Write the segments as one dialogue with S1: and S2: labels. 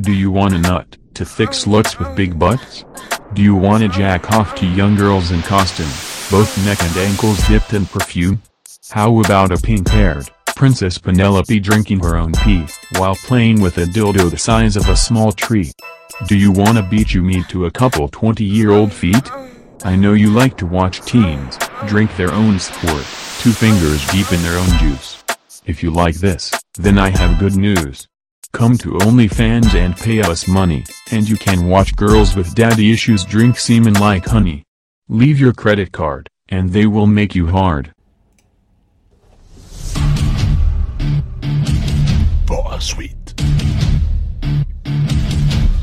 S1: Do you want a nut to thick sluts with big butts? Do you want to jack off to young girls in costume, both neck and ankles dipped in perfume? How about a pink-haired Princess Penelope drinking her own pee while playing with a dildo the size of a small tree? Do you want to beat you meat to a couple 20-year-old feet? I know you like to watch teens drink their own sport, two fingers deep in their own juice. If you like this, then I have good news. Come to OnlyFans and pay us money, and you can watch girls with daddy issues drink semen like honey. Leave your credit card, and they will make you hard.
S2: Bara skit.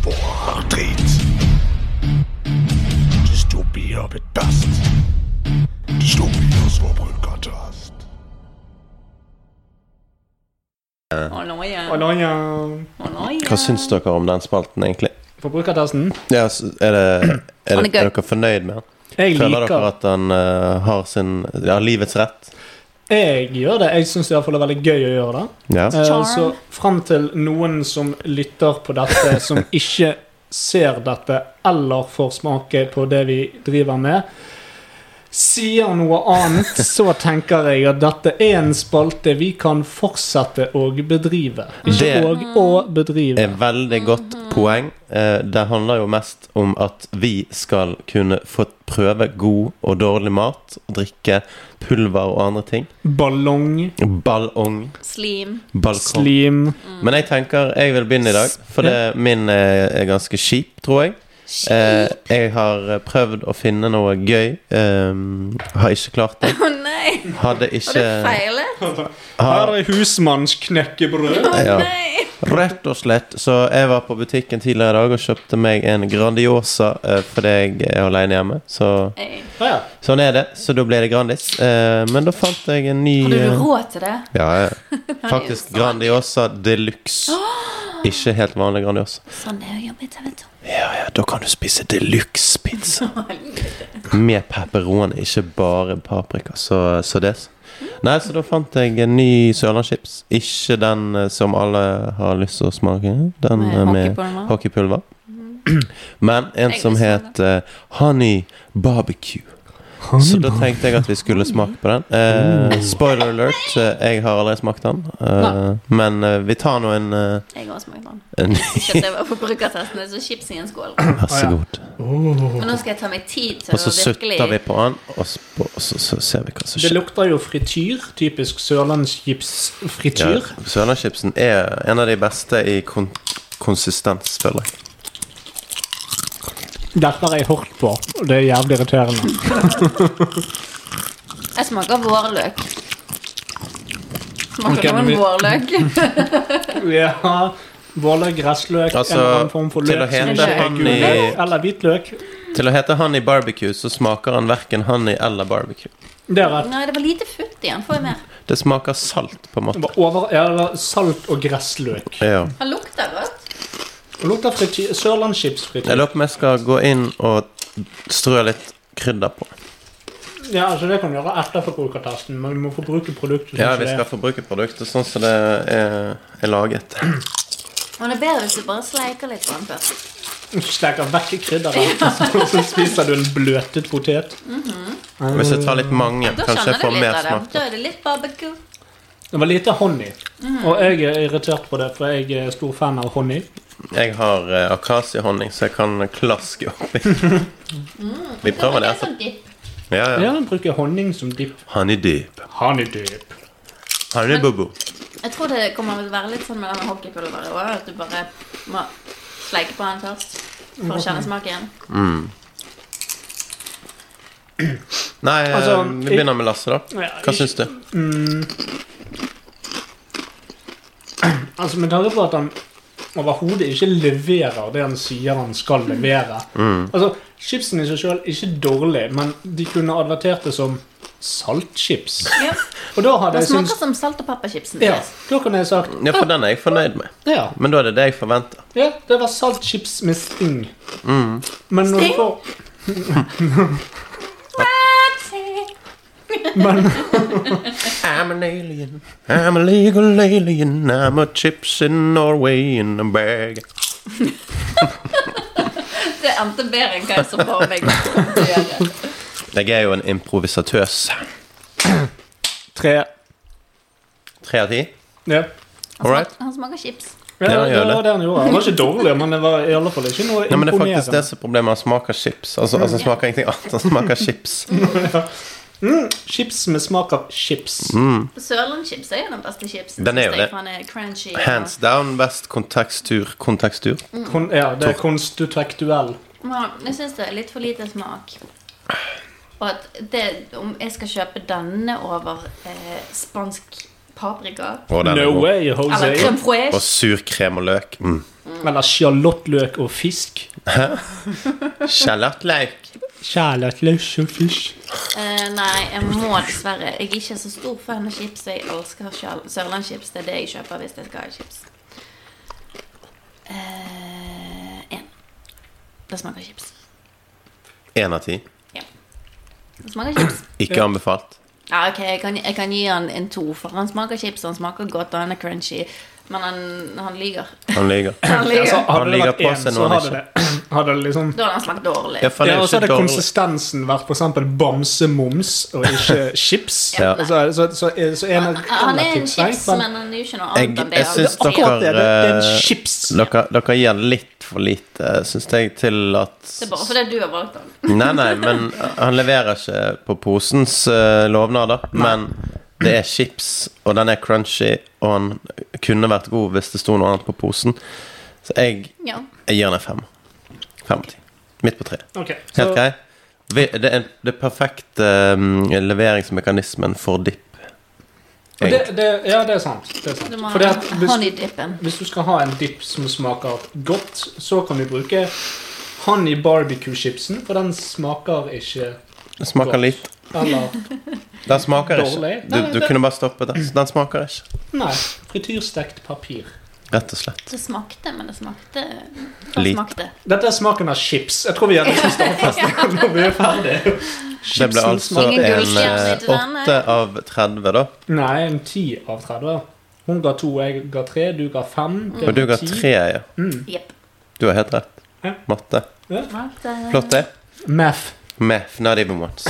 S2: Bara drit. Dystopier med dust. Dystopier som brunkontrast.
S3: Og nå, ja.
S4: Hva syns dere om den spalten, egentlig?
S3: Forbrukertesten.
S4: Ja, s- er, det, er,
S5: Han er
S4: det,
S5: gøy.
S4: er dere fornøyd med den?
S3: Jeg
S4: Føler dere
S3: liker
S4: at den eh, har sin Ja, livets rett?
S3: Jeg gjør det. Jeg syns iallfall det er veldig gøy å gjøre det.
S4: Ja.
S3: Eh,
S5: Charm.
S3: så fram til noen som lytter på dette, som ikke ser dette eller får smake på det vi driver med, sier noe annet, så tenker jeg at dette er en spalte vi kan fortsette å bedrive. Ikke
S4: Mm. Det-
S3: og å bedrive.
S4: er veldig godt
S5: Mhm.
S4: poeng. Eh, Det handler jo mest om at vi skal kunne få prøve god og dårlig mat. og Drikke pulver og andre ting.
S3: Ballong,
S4: Ballong.
S5: Slim.
S4: Balkong.
S3: slim
S4: Men jeg tenker jeg vil begynne i dag, for det, min eh, er, er ganske kjip, tror jeg. Eh, jeg har eh, prøvd å finne noe gøy. eh, har ikke klart det.
S5: Å nei!
S4: Hadde
S5: Har du
S4: ikke
S5: feilet? Å
S3: Her er husmannsknekkebrød.
S4: Ja.
S5: nei!
S4: Rett og slett. Så jeg var på butikken tidligere i dag og kjøpte meg en Grandiosa eh, fordi jeg er alene hjemme. Så
S5: Hey.
S3: Ja.
S4: Sånn er det, så da ble det Grandis. Eh, men da fant jeg en ny
S5: Hadde du
S4: eh,
S5: råd til det?
S4: ja, ja. Faktisk Grandiosa de luxe. Ikke helt vanlig Grandiosa.
S5: Sånn er jo jobbe i TV 2.
S4: Ja, ja, da kan du spise de luxe-pizza. Med pepperoni, ikke bare paprika. Så, så det. Nei, så da fant jeg en ny sørlandschips. Ikke den eh, som alle har lyst til å smake.
S3: Sånn,
S4: Den
S5: Med
S4: eh, med
S5: hockeypulver. Mm.
S4: hockeypulver. Men en
S5: Jeg
S4: som
S5: vil smake
S4: het eh, Honey Barbecue. Så da tenkte jeg at vi skulle smake på den. Eh, spoiler alert, eh, jeg har aldri smakt den. Eh, men eh, vi tar nå en, eh,
S5: Jeg har smakt den.
S4: en
S5: Ikke at det var forbrukertesten, det er så chips i en skål.
S4: Vær så god.
S5: Men nå skal jeg ta meg tid til
S4: Og så
S5: å virkelig
S4: sutter vi på den, og så, og så, så ser vi hva som
S3: Det
S4: skjer.
S3: lukter jo frityr. Typisk
S4: Ja,
S3: sørlandsskipsfrityr.
S4: Sørlandschipsen er en av de beste i kon konsistens, føler jeg.
S3: Dette har jeg hørt på, og det er jævlig irriterende.
S5: Jeg smaker vårløk. Smaker
S3: Ok, men
S5: noen
S3: vi-
S5: vårløk?
S3: Ja, vårløk, gressløk,
S4: Altså,
S3: en eller annen form for
S4: til å
S3: løk som
S4: hete
S3: ikke er
S4: han
S3: gul
S4: i-
S3: løk, eller hvitløk.
S4: Til å hete honey barbecue, så smaker han verken honey eller barbecue.
S3: Det er rett.
S5: Nei, det var lite futt igjen. Får jeg mer?
S4: Det smaker salt, på en
S3: Det
S4: måte.
S3: var, over, ja, det var salt og gressløk.
S4: Ja.
S5: Han lukter godt.
S3: Og lukter frityr,
S4: Jeg
S3: sørlandsskipsfrityr.
S4: lurer på om jeg skal gå inn og strø litt krydder på.
S3: Ja, altså det kan du gjøre etter forbrukertesten, men vi må forbruke produktet. som
S4: Ja,
S3: det
S4: vi
S3: er.
S4: skal forbruke produktet sånn som det er, er laget.
S5: Men det er bedre hvis du bare sleiker litt på den først.
S3: Steker vekk krydderet, og så spiser du en bløtet potet.
S4: Hvis jeg tar litt mange,
S5: Da
S4: kanskje jeg
S5: skjønner
S4: får
S5: du litt
S4: mer
S5: av det.
S4: smak.
S5: Da er det litt barbecue.
S3: Det var lite honning, og jeg er irritert på det, for jeg er stor fan av honning.
S4: Jeg har eh, akasiehonning, så jeg kan klaske oppi. Vi prøver det.
S5: sånn
S4: Altså.
S5: dipp.
S4: Ja, ja.
S3: Ja, jeg bruker honning som dipp.
S4: Honey dip.
S3: Honeydyp.
S4: Honey boo-boo.
S5: Jeg tror det kommer til å være litt sånn med denne hockeypulveret òg, at du bare må sleike på den først. For å kjenne smaken.
S4: Nei, eh,
S3: Altså,
S4: vi begynner med Lasse, da.
S3: Ja,
S4: Hva
S3: ikke-
S4: syns du?
S3: Altså, Med tanke på at han overhodet ikke leverer det han sier han skal
S5: Mm.
S3: levere Altså, Chipsen i seg sjøl er ikke dårlig, men de kunne advertert det som saltchips.
S5: Ja.
S3: Og da hadde
S5: Det
S3: jeg
S5: smaker
S3: syntes
S5: som salt- og pepperchipsen.
S3: ja, Da kunne jeg sagt
S4: Ja, for den er jeg fornøyd med.
S3: ja,
S4: Men da er det det jeg forventer.
S3: ja, det var saltchips med sting. Men når du
S5: Mm. Sting?
S3: får
S5: Yes.
S3: Men
S4: I'm an alien. I'm a legal alien. I'm a chips in Norway in a bag.
S5: Det endte bedre enn hva jeg så på meg. å gjøre.
S4: Jeg er jo en improvisatøs.
S3: Tre.
S4: Tre av ti.
S3: Ja.
S4: All right?
S3: Altså,
S5: Han smaker chips.
S3: Ja,
S4: Ja, gjør
S3: det var
S4: det.
S3: det han gjorde. Han var ikke dårlig, men det var i alle fall ikke noe
S4: Nei, men det er
S3: imponerende.
S4: faktisk det som er problemet. Han smaker chips. Altså, altså han smaker ingenting annet. Han smaker chips.
S3: Chips med smak av chips.
S5: Mm. Sørlandschips er jo den beste chipsen.
S4: Den er jo
S5: synes jeg,
S4: det.
S5: for Han er crunchy.
S4: Hands down best kontekstur. Kontekstur.
S3: Kon, ja, det er konstituektuell.
S5: Og, men jeg syns det er litt for lite smak. Og at det, om jeg skal kjøpe denne over eh, spansk paprika
S4: Og den er
S3: No
S4: god.
S3: way, Jose.
S5: Eller crème
S4: Og
S5: fraiche.
S4: sur krem og løk. Mm.
S3: Eller sjalottløk og fisk.
S4: Sjalottløk.
S3: Kjærlighetsløk og fisk.
S5: Eh, nei, jeg må dessverre. Jeg er ikke så stor fan av chips. så Jeg elsker sjal- sørlandschips. Det er det jeg kjøper hvis jeg skal ha chips. Eh, en. Det smaker chips.
S4: Én av ti.
S5: Det smaker chips.
S4: Ikke anbefalt.
S5: Ja, ok, jeg kan, jeg kan gi han en to, for han smaker chips, og han smaker godt, og han er crunchy. Men han, han lyver.
S4: Han lyver.
S5: Han lyger.
S3: Altså,
S4: Han
S3: hadde det
S4: ligger
S3: vært
S4: på
S3: én,
S4: seg
S3: så
S4: når han
S3: hadde det, hadde det liksom
S5: Da hadde han smakt dårlig.
S4: Ja, for han
S3: ja,
S4: er jo
S3: og så
S4: ikke
S3: hadde
S4: dårlig.
S3: konsistensen vært for eksempel bamsemums og ikke chips.
S4: Ja.
S3: Altså, så, så, så, en er
S5: Han er en
S3: relativt streng,
S5: chips,
S3: men
S5: men han er jo ikke noe
S4: Jeg-
S5: annet enn det.
S4: jeg
S5: han-
S4: synes
S5: det er
S4: dere-
S3: akkurat det. Det det er
S4: eh,
S3: en chips.
S4: Dere, dere gir han litt for lite, syns jeg, til at
S5: Det er bare fordi du har valgt han.
S4: Nei, nei, men han leverer ikke på posens eh, lovnader. Men det er chips, og den er crunchy, og han kunne vært god hvis det sto noe annet på posen. Så jeg,
S5: Ja.
S4: jeg gir den en fem. Fem av ti. Midt på tre.
S3: Ok, så
S4: Helt grei. Vi- Det er det er perfekte eh, leveringsmekanismen for dipp.
S3: det, det, Ja, det er sant. Det er sant.
S5: Du må
S3: Fordi
S5: ha
S3: at hvis,
S5: honeydippen.
S3: hvis du skal ha en dipp som smaker godt, så kan du bruke honey barbecue-chipsen, for den smaker ikke
S4: Det smaker
S3: Godt.
S4: litt.
S3: Eller
S4: Den smaker ikke.
S3: Dårlig?
S4: Du,
S3: Nei,
S4: du
S3: det-
S4: kunne bare stoppet den. Den smaker ikke.
S3: Nei. Frityrstekt papir.
S4: Rett og slett.
S5: Det smakte, men det smakte
S4: Lite.
S5: Det smakte.
S3: Dette er smaken av chips. Jeg tror vi har liksom stadfestet når vi er ferdige.
S4: Det ble
S3: Chipsen
S4: altså
S5: smaker- Ingen
S4: en
S5: gullskjerm
S4: eh,
S5: til den, nei.
S4: 8 av 30, da.
S3: Nei, en 10 av 30. Hun ga 2, jeg ga 3, du ga 5.
S5: Mm.
S4: Og du ga 3, ja.
S5: Jepp.
S4: Du har helt rett.
S3: Ja.
S4: Matte. Flott,
S5: Flott.
S4: det.
S3: Math.
S4: Math, not even once.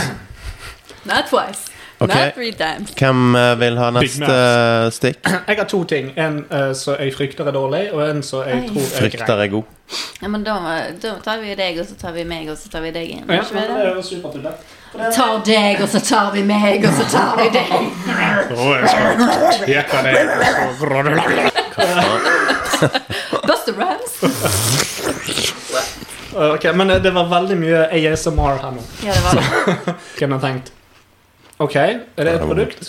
S5: Not twice.
S4: Ok.
S5: Not three times.
S4: Hvem eh, vil ha
S3: Big
S4: neste stikk?
S3: Jeg har to ting. En eh, som jeg frykter er dårlig, og en som jeg
S5: Oi.
S3: tror er grei.
S4: Frykter er god.
S5: Ja, men da, da tar vi deg, og så tar vi meg, og så tar vi deg igjen.
S3: Ja,
S5: Ikke
S3: men
S5: vi
S3: det
S5: det?
S3: er jo supertydelig.
S5: Tar deg, og så tar vi meg, og så tar vi deg. Buster Rhymes.
S3: Eh, Ok, Men eh, det var veldig mye ASMR her nå.
S5: Ja, det var det.
S3: Hvem har tenkt? OK, er det et produkt?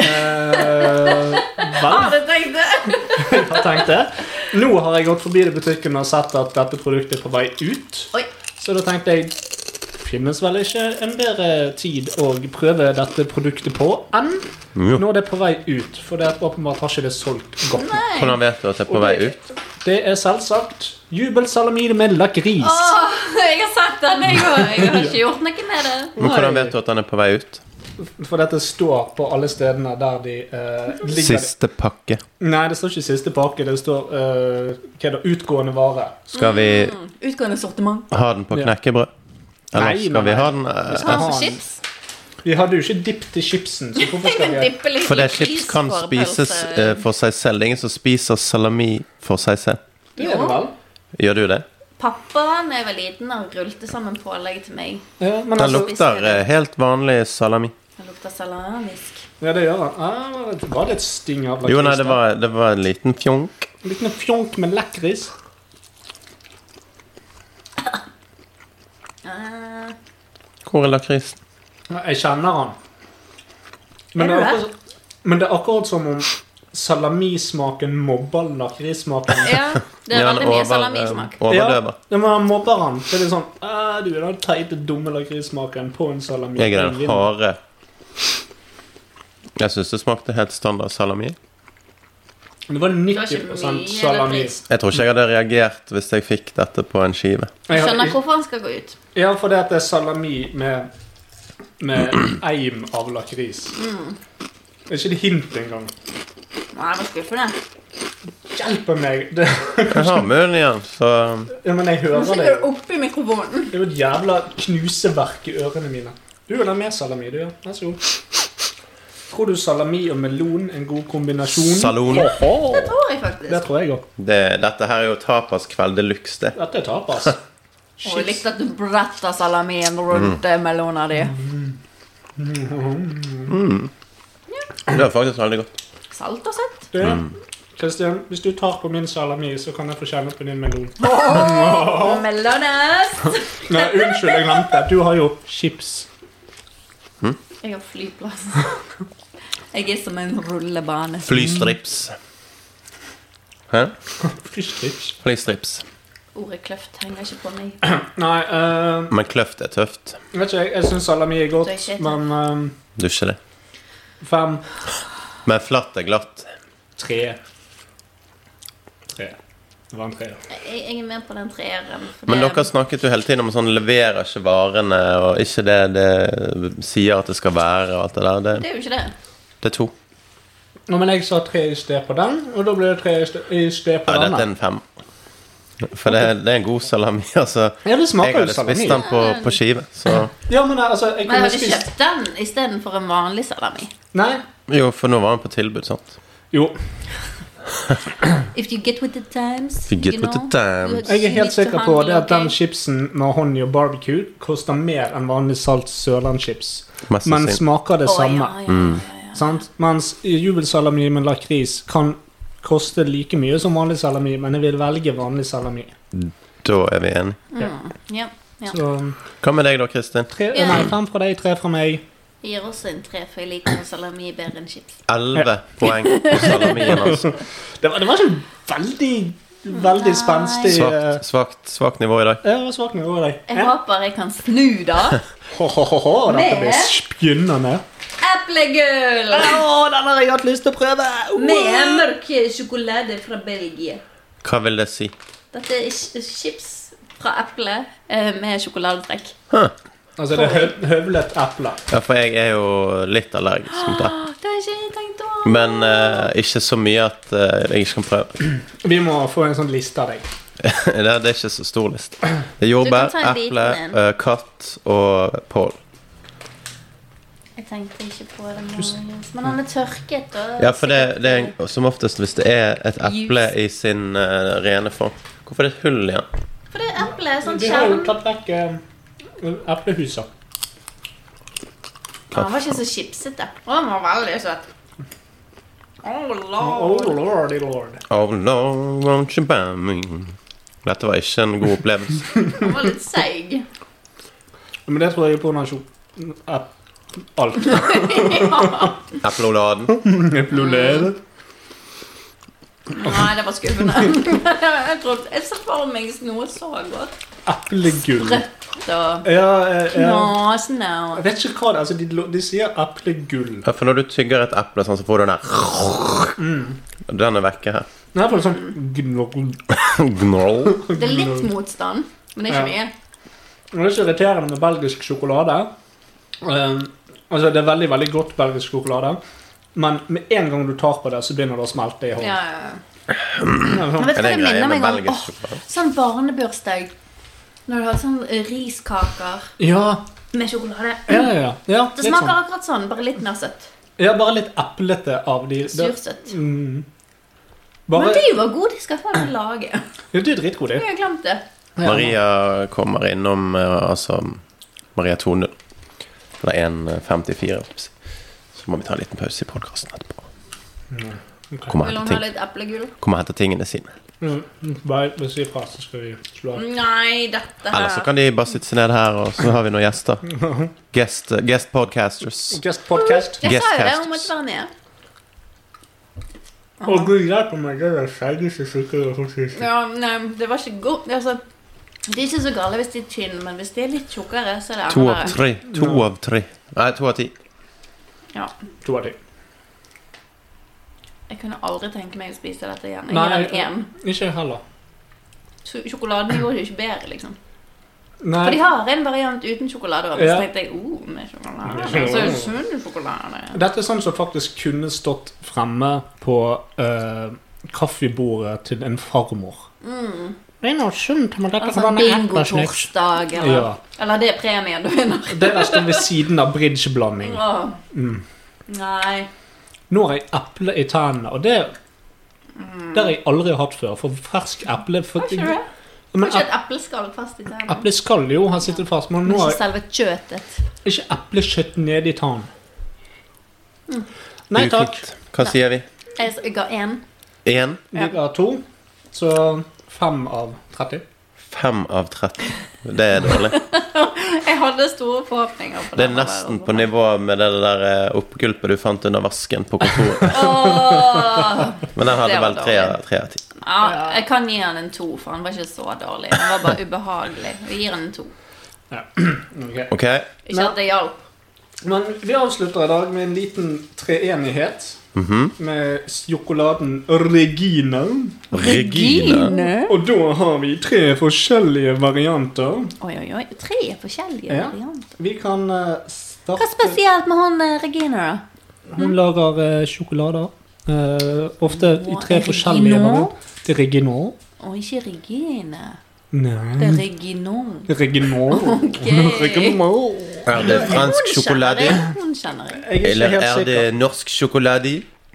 S3: Eh, vel,
S5: Ah, det tenkte jeg.
S3: jeg tenkte Nå har jeg gått forbi det butikken og sett at dette produktet er på vei ut.
S5: Oi.
S3: Så da tenkte jeg Finnes vel ikke en bedre tid å prøve dette produktet på enn
S4: Jo.
S3: når det er på vei ut? For det er åpenbart har ikke det solgt godt. nok.
S5: Nei.
S4: Hvordan vet du at det er på vei ut?
S3: Det er selvsagt jubelsalamine med lakris.
S5: Åh, jeg har sett den, jeg òg. Jeg har ikke gjort noe med det.
S4: Men hvordan vet du at den er på vei ut?
S3: For dette står på alle stedene der de eh, ligger.
S4: Siste pakke.
S3: Nei, det står ikke siste pakke. Det står eh, hva er det, utgående vare.
S4: Skal vi
S5: Utgående sortiment.
S4: ha den på
S3: Ja.
S4: knekkebrød?
S3: Nei,
S4: Eller skal
S3: nei.
S4: vi ha den eh,
S5: Skal han
S3: ha
S5: få
S3: en-
S5: chips?
S3: Vi hadde jo ikke dipp til chipsen. Så hvorfor skal
S5: Men
S3: vi
S5: dippe litt
S4: For det er
S5: lakris
S4: chips kan
S5: for
S4: spises
S5: pølse.
S4: eh, for seg selv. Det er ingen som spiser salami for seg selv.
S3: Det er det vel?
S4: Gjør du det?
S5: Pappa da jeg var liten, han rullte sammen pålegg til meg.
S3: Ja, men
S4: Den
S3: altså,
S4: lukter eh, helt vanlig salami.
S5: Det lukter salamisk.
S3: ja, det gjør han. Ah, det var litt sting av lakris.
S4: Jo, nei, det
S3: da.
S4: var, det var en liten fjonk.
S3: En liten fjonk med lakris.
S5: Eh,
S4: Hvor er lakrisen?
S3: Ja, Jeg kjenner han. Men
S5: Er
S3: det er
S5: du det?
S3: akkurat, men det er akkurat som om salamismaken mobber lakrissmaken.
S5: ja, det er
S4: Ja,
S5: veldig
S4: han
S5: mye
S4: over-
S5: salamismak.
S4: eh, Overdøver.
S3: Ja, men han mobber han. ah, Det er litt sånn «Æ, Du er den teite, dumme lakrissmaken på en salami.
S4: Jeg er den harde Jeg syns det smakte helt standard salami.
S3: Det var
S5: Det var ikke
S3: 90
S5: mye
S3: sånn salami.
S5: repris.
S4: Jeg tror ikke jeg hadde reagert hvis jeg fikk dette på en skive.
S5: Du
S3: Jeg hadde
S5: skjønner
S3: ikke-
S5: hvorfor han skal gå ut.
S3: Ja, for det at det er salami med Med eim av lakris.
S5: Mm.
S3: Det er ikke det hint engang.
S5: Nei, jeg var skuffende.
S3: Hjelpe meg! Det,
S4: Jeg har munnen igjen, så
S3: ja, men jeg
S5: Nå
S3: hører
S5: sitter
S3: deg.
S5: du oppi mikrofonen.
S3: Det er jo et jævla knuseverk i ørene mine. Du vil ha mer salami, du, ja. Vær så god. Tror du salami og melon er en god kombinasjon?
S4: Salon.
S5: Det tror jeg faktisk.
S3: Det tror jeg òg.
S4: Det, dette her er jo tapaskveld de luxe, det.
S3: Dette er tapas.
S5: Og jeg likte at du bretter salamien rundt mm. melona di.
S4: Det var faktisk veldig godt.
S5: Salt og søtt.
S3: Du, Kristian, hvis du tar på min salami, så kan jeg få kjenne på din melon.
S5: Og melones.
S3: Nei, unnskyld, jeg glemte. Du har jo chips.
S5: Jeg har flyplass. Jeg er som en rullebane.
S4: Flystrips. Hæ?
S3: Frystips.
S4: Flystrips.
S5: Ordet kløft henger ikke på meg.
S3: Nei, eh,
S4: Men kløft er tøft.
S3: vet ikke, jeg, jeg syns salami er
S5: Det er
S3: godt,
S5: ikke et-
S3: men eh,
S4: Du er ikke det.
S3: fem
S4: Men flatt er glatt.
S3: Tre. Tre. Det var en treer.
S5: Jeg, jeg er med på den treeren. for
S4: Men
S5: det-
S4: dere snakket jo hele tiden om sånn leverer ikke varene, og ikke det det sier at det skal være, og alt det der.
S5: Det er
S4: Det,
S5: jo ikke det.
S4: det er to.
S3: Nå, men jeg sa tre i sted på den, og da ble det tre i sted, i sted på
S4: Ja, dette er
S3: denne.
S4: en fem. For det, det er en god salami, altså.
S3: Ja, det
S4: Jeg
S3: smaker jo
S4: hadde spist
S3: salami.
S4: den på, på skive, så
S3: Ja, men altså, jeg
S5: Men jeg
S3: kunne
S5: hadde
S3: spist
S5: kjøpt den istedenfor en vanlig salami.
S3: Nei.
S4: Jo, for nå var den på tilbud, sant?
S3: Jo.
S5: If you get with the times,
S4: You get
S5: you
S4: with
S5: know,
S4: the times.
S5: you have
S3: Jeg er
S5: shit
S3: helt
S5: to
S3: sikker på
S5: handle,
S3: det at den
S5: ok?
S3: chipsen med honning og barbecue koster mer enn vanlig salt sørlandschips,
S4: Mest
S3: men
S4: sannsynlig.
S3: smaker det
S5: Å,
S3: samme.
S5: ja, ja,
S4: Mm.
S5: ja, ja.
S3: Sant? Mens jubelsalami med lakris kan koste like mye som vanlig salami, men jeg vil velge vanlig salami.
S4: Da er vi enige.
S5: ja. Ja.
S3: Så
S4: Hva med deg da, Kristin?
S3: tre,
S5: Ja.
S3: nei, fem fra deg, tre fra meg.
S5: Jeg gir også en tre, for jeg liker salami bedre enn chips.
S4: Elleve poeng på salamien, altså.
S3: Det var, det var ikke veldig, veldig spenstig. eh,
S4: Svakt, svakt, svakt nivå i dag.
S3: Jeg var svak nivå i dag.
S5: Jeg håper jeg kan snu, da.
S3: Ho, ho, ho, ho, dette
S5: Med-
S3: blir spennende.
S5: Eplegull
S3: Å, den har jeg hatt lyst til å prøve!
S5: med mørk sjokolade fra Belgia.
S4: Hva vil det si?
S5: Dette er ch- chips fra eple eh, med sjokoladetrekk.
S3: Altså, det er høv- høvlet eple.
S4: Ja, for jeg er jo litt allergisk mot det.
S5: Åh, Det har ikke jeg tenkt å
S4: Men eh, ikke så mye at eh, jeg ikke kan prøve.
S3: Vi må få en sånn liste av deg.
S4: det, det er ikke så stor liste. Det
S5: Du
S4: er
S5: kan
S4: jordbær,
S5: ta en bit
S4: eple,
S5: med den.
S4: eh, katt og pål.
S5: Jeg tenkte ikke på det. Marius. Men han er tørket. Og
S4: Ja, for det, det er som oftest hvis det er et eple i sin eh, rene form. Hvorfor er det et hull igjen?
S5: For det er eple. Sånn
S3: Vi har jo
S5: skjerm.
S3: tatt vekk eh, eplehuset.
S5: Han var ikke så chipsete. Å, Han var veldig søt. Oh,
S3: Oh
S5: lord.
S3: lordy lord.
S4: Oh no, won't you buy me? Dette var ikke en god opplevelse.
S5: Han var litt seig.
S3: Men det tror jeg er på nasjon... Ep alt.
S4: Eploladen.
S3: Eplolede.
S5: Nei, det var skuffende. jeg, trodde, jeg så for meg noe så godt.
S3: Eplegull.
S5: Rødt og
S3: Ja, eh, ja.
S5: knasende og
S3: Jeg vet ikke hva det er. Altså, de, lo- de sier eplegull.
S4: Ja, For når du tygger et eple sånn, så får du den der
S5: Mm.
S4: Den er vekke her.
S3: Det er faktisk sånn gnorl.
S4: Gnoll.
S5: Det er litt
S3: Mm.
S5: motstand, men det er ikke mye.
S3: Det er så irriterende med belgisk sjokolade. Eh, altså, det er veldig, veldig godt belgisk sjokolade. Men med en gang du tar på det, så begynner det å smelte i hånden.
S5: Ja, ja, ja.
S3: Det er
S5: Men
S3: sånn,
S5: vet du hva det minner meg om?
S4: belgisk
S5: Åh,
S4: sjokolade?
S5: sånn barnebursdag. Når du har sånn eh, riskaker
S3: Ja,
S5: med sjokolade.
S3: ja, ja. ja. ja
S5: Det
S3: litt
S5: smaker
S3: sånn.
S5: akkurat sånn, bare litt mer søtt.
S3: Ja, bare litt eplete av de det-
S5: Sursøtt.
S3: Mm.
S5: Men
S3: Bare,
S5: de var gode, de skal jeg faen meg lage.
S3: ja, det er dritgod,
S5: Jeg
S3: det.
S5: har glemt det.
S4: Maria kommer innom eh, altså Maria 2.0. Eller 1.54, eh, holdt jeg på å si. Så må vi ta en liten pause i podkasten etterpå.
S5: Mm,
S4: Kom og
S5: Vil
S4: hente
S5: hun ha
S4: ting-
S5: litt eplegull?
S4: kom og hente tingene sine.
S3: Mm. Bare bare si fra, så skal vi slå av.
S5: Nei, dette
S4: Eller så
S5: her
S4: kan de bare sitte seg ned her, og så har vi noen gjester. Guest, eh, guest podcasters.
S3: Just podcast.
S5: Jeg sa jo det,
S4: Guestcasters.
S5: hun måtte være med.
S3: Å, gud hjelpe meg, det er det skjeggeste sukkeret for sist.
S5: Ja, nei, det var ikke godt. Altså, de er ikke så gale hvis de er tynne, men hvis de er litt tjukkere, så er det
S4: To av
S5: annerledes.
S4: tre. To av tre. Nei, to av ti.
S5: Ja.
S3: To av de.
S5: Jeg kunne aldri tenke meg å spise dette igjen. Jeg
S3: Nei,
S5: gjør det
S3: jeg-
S5: igjen.
S3: Ikke jeg heller.
S5: Sj- Sjokoladen gjorde det jo ikke bedre, liksom.
S3: Nei,
S5: For de har en variant uten sjokolade. Og så
S3: Ja.
S5: tenkte jeg oh, med sjokolade.
S3: Med
S5: Så
S3: sjokolade.
S5: sunn sjokolade.
S3: Dette er sånn som faktisk kunne stått fremme på eh, kaffebordet til en farmor.
S5: Mm.
S3: Det er noe sunt, men
S5: Eller sånn bingo-torsdag, eller,
S3: Ja.
S5: eller det er premien du vinner.
S3: Det er nesten ved siden av bridgeblanding.
S5: Åh.
S3: Mm.
S5: Nei.
S3: Nå har jeg eple i tennene, og det, det har jeg aldri hatt før. For fersk eple for,
S5: Var ikke det? Var
S3: Men
S5: ikke
S3: ep-
S5: et epleskall fast i tennene?
S3: eple skal jo ha sittet fast, men
S5: Men
S3: nå har
S5: ikke selve kjøttet.
S3: jeg ikke eplekjøtt nede i tannen. Nei takk.
S4: Ufint. Hva sier vi?
S5: Jeg s- jeg ga én.
S4: Én?
S3: Vi ga to, så fem av 30.
S4: Fem av 30. Det er dårlig.
S5: Jeg hadde store forhåpninger. på
S4: Det er
S5: denne
S4: nesten
S5: varianten.
S4: på nivå med det der eh, oppgulpet du fant under vasken på kontoret.
S5: Åh.
S4: Men den hadde
S5: Det var
S4: vel tre av- tre av ti.
S5: Ja, jeg kan gi han en to, for han var ikke så dårlig. Han var bare ubehagelig. Vi gir han en to.
S3: Ok.
S4: Ok?
S5: Ikke at det hjalp.
S3: Men vi avslutter i dag med en liten treenighet.
S4: Mhm.
S3: Med sjokoladen Regina.
S4: Regine.
S3: Og da har vi tre forskjellige varianter.
S5: Oi, oi, oi. Tre forskjellige
S3: Ja.
S5: varianter.
S3: Vi kan eh,
S5: Hva er
S3: starte
S5: spesielt med hun eh, Regina, da?
S3: Hun lager eh, sjokolader. eh, ofte i tre
S5: Regina?
S3: forskjellige varianter. Det er Regina.
S5: Å, ikke Regine. Det er
S3: Nei
S5: Reginon.
S3: Regina.
S5: Ok.
S3: Regina.
S4: Er det fransk sjokolade?
S5: Hun kjenner jeg.
S3: Jeg er ikke
S4: Eller
S3: helt
S4: er det
S3: sikker.
S4: norsk sjokolade?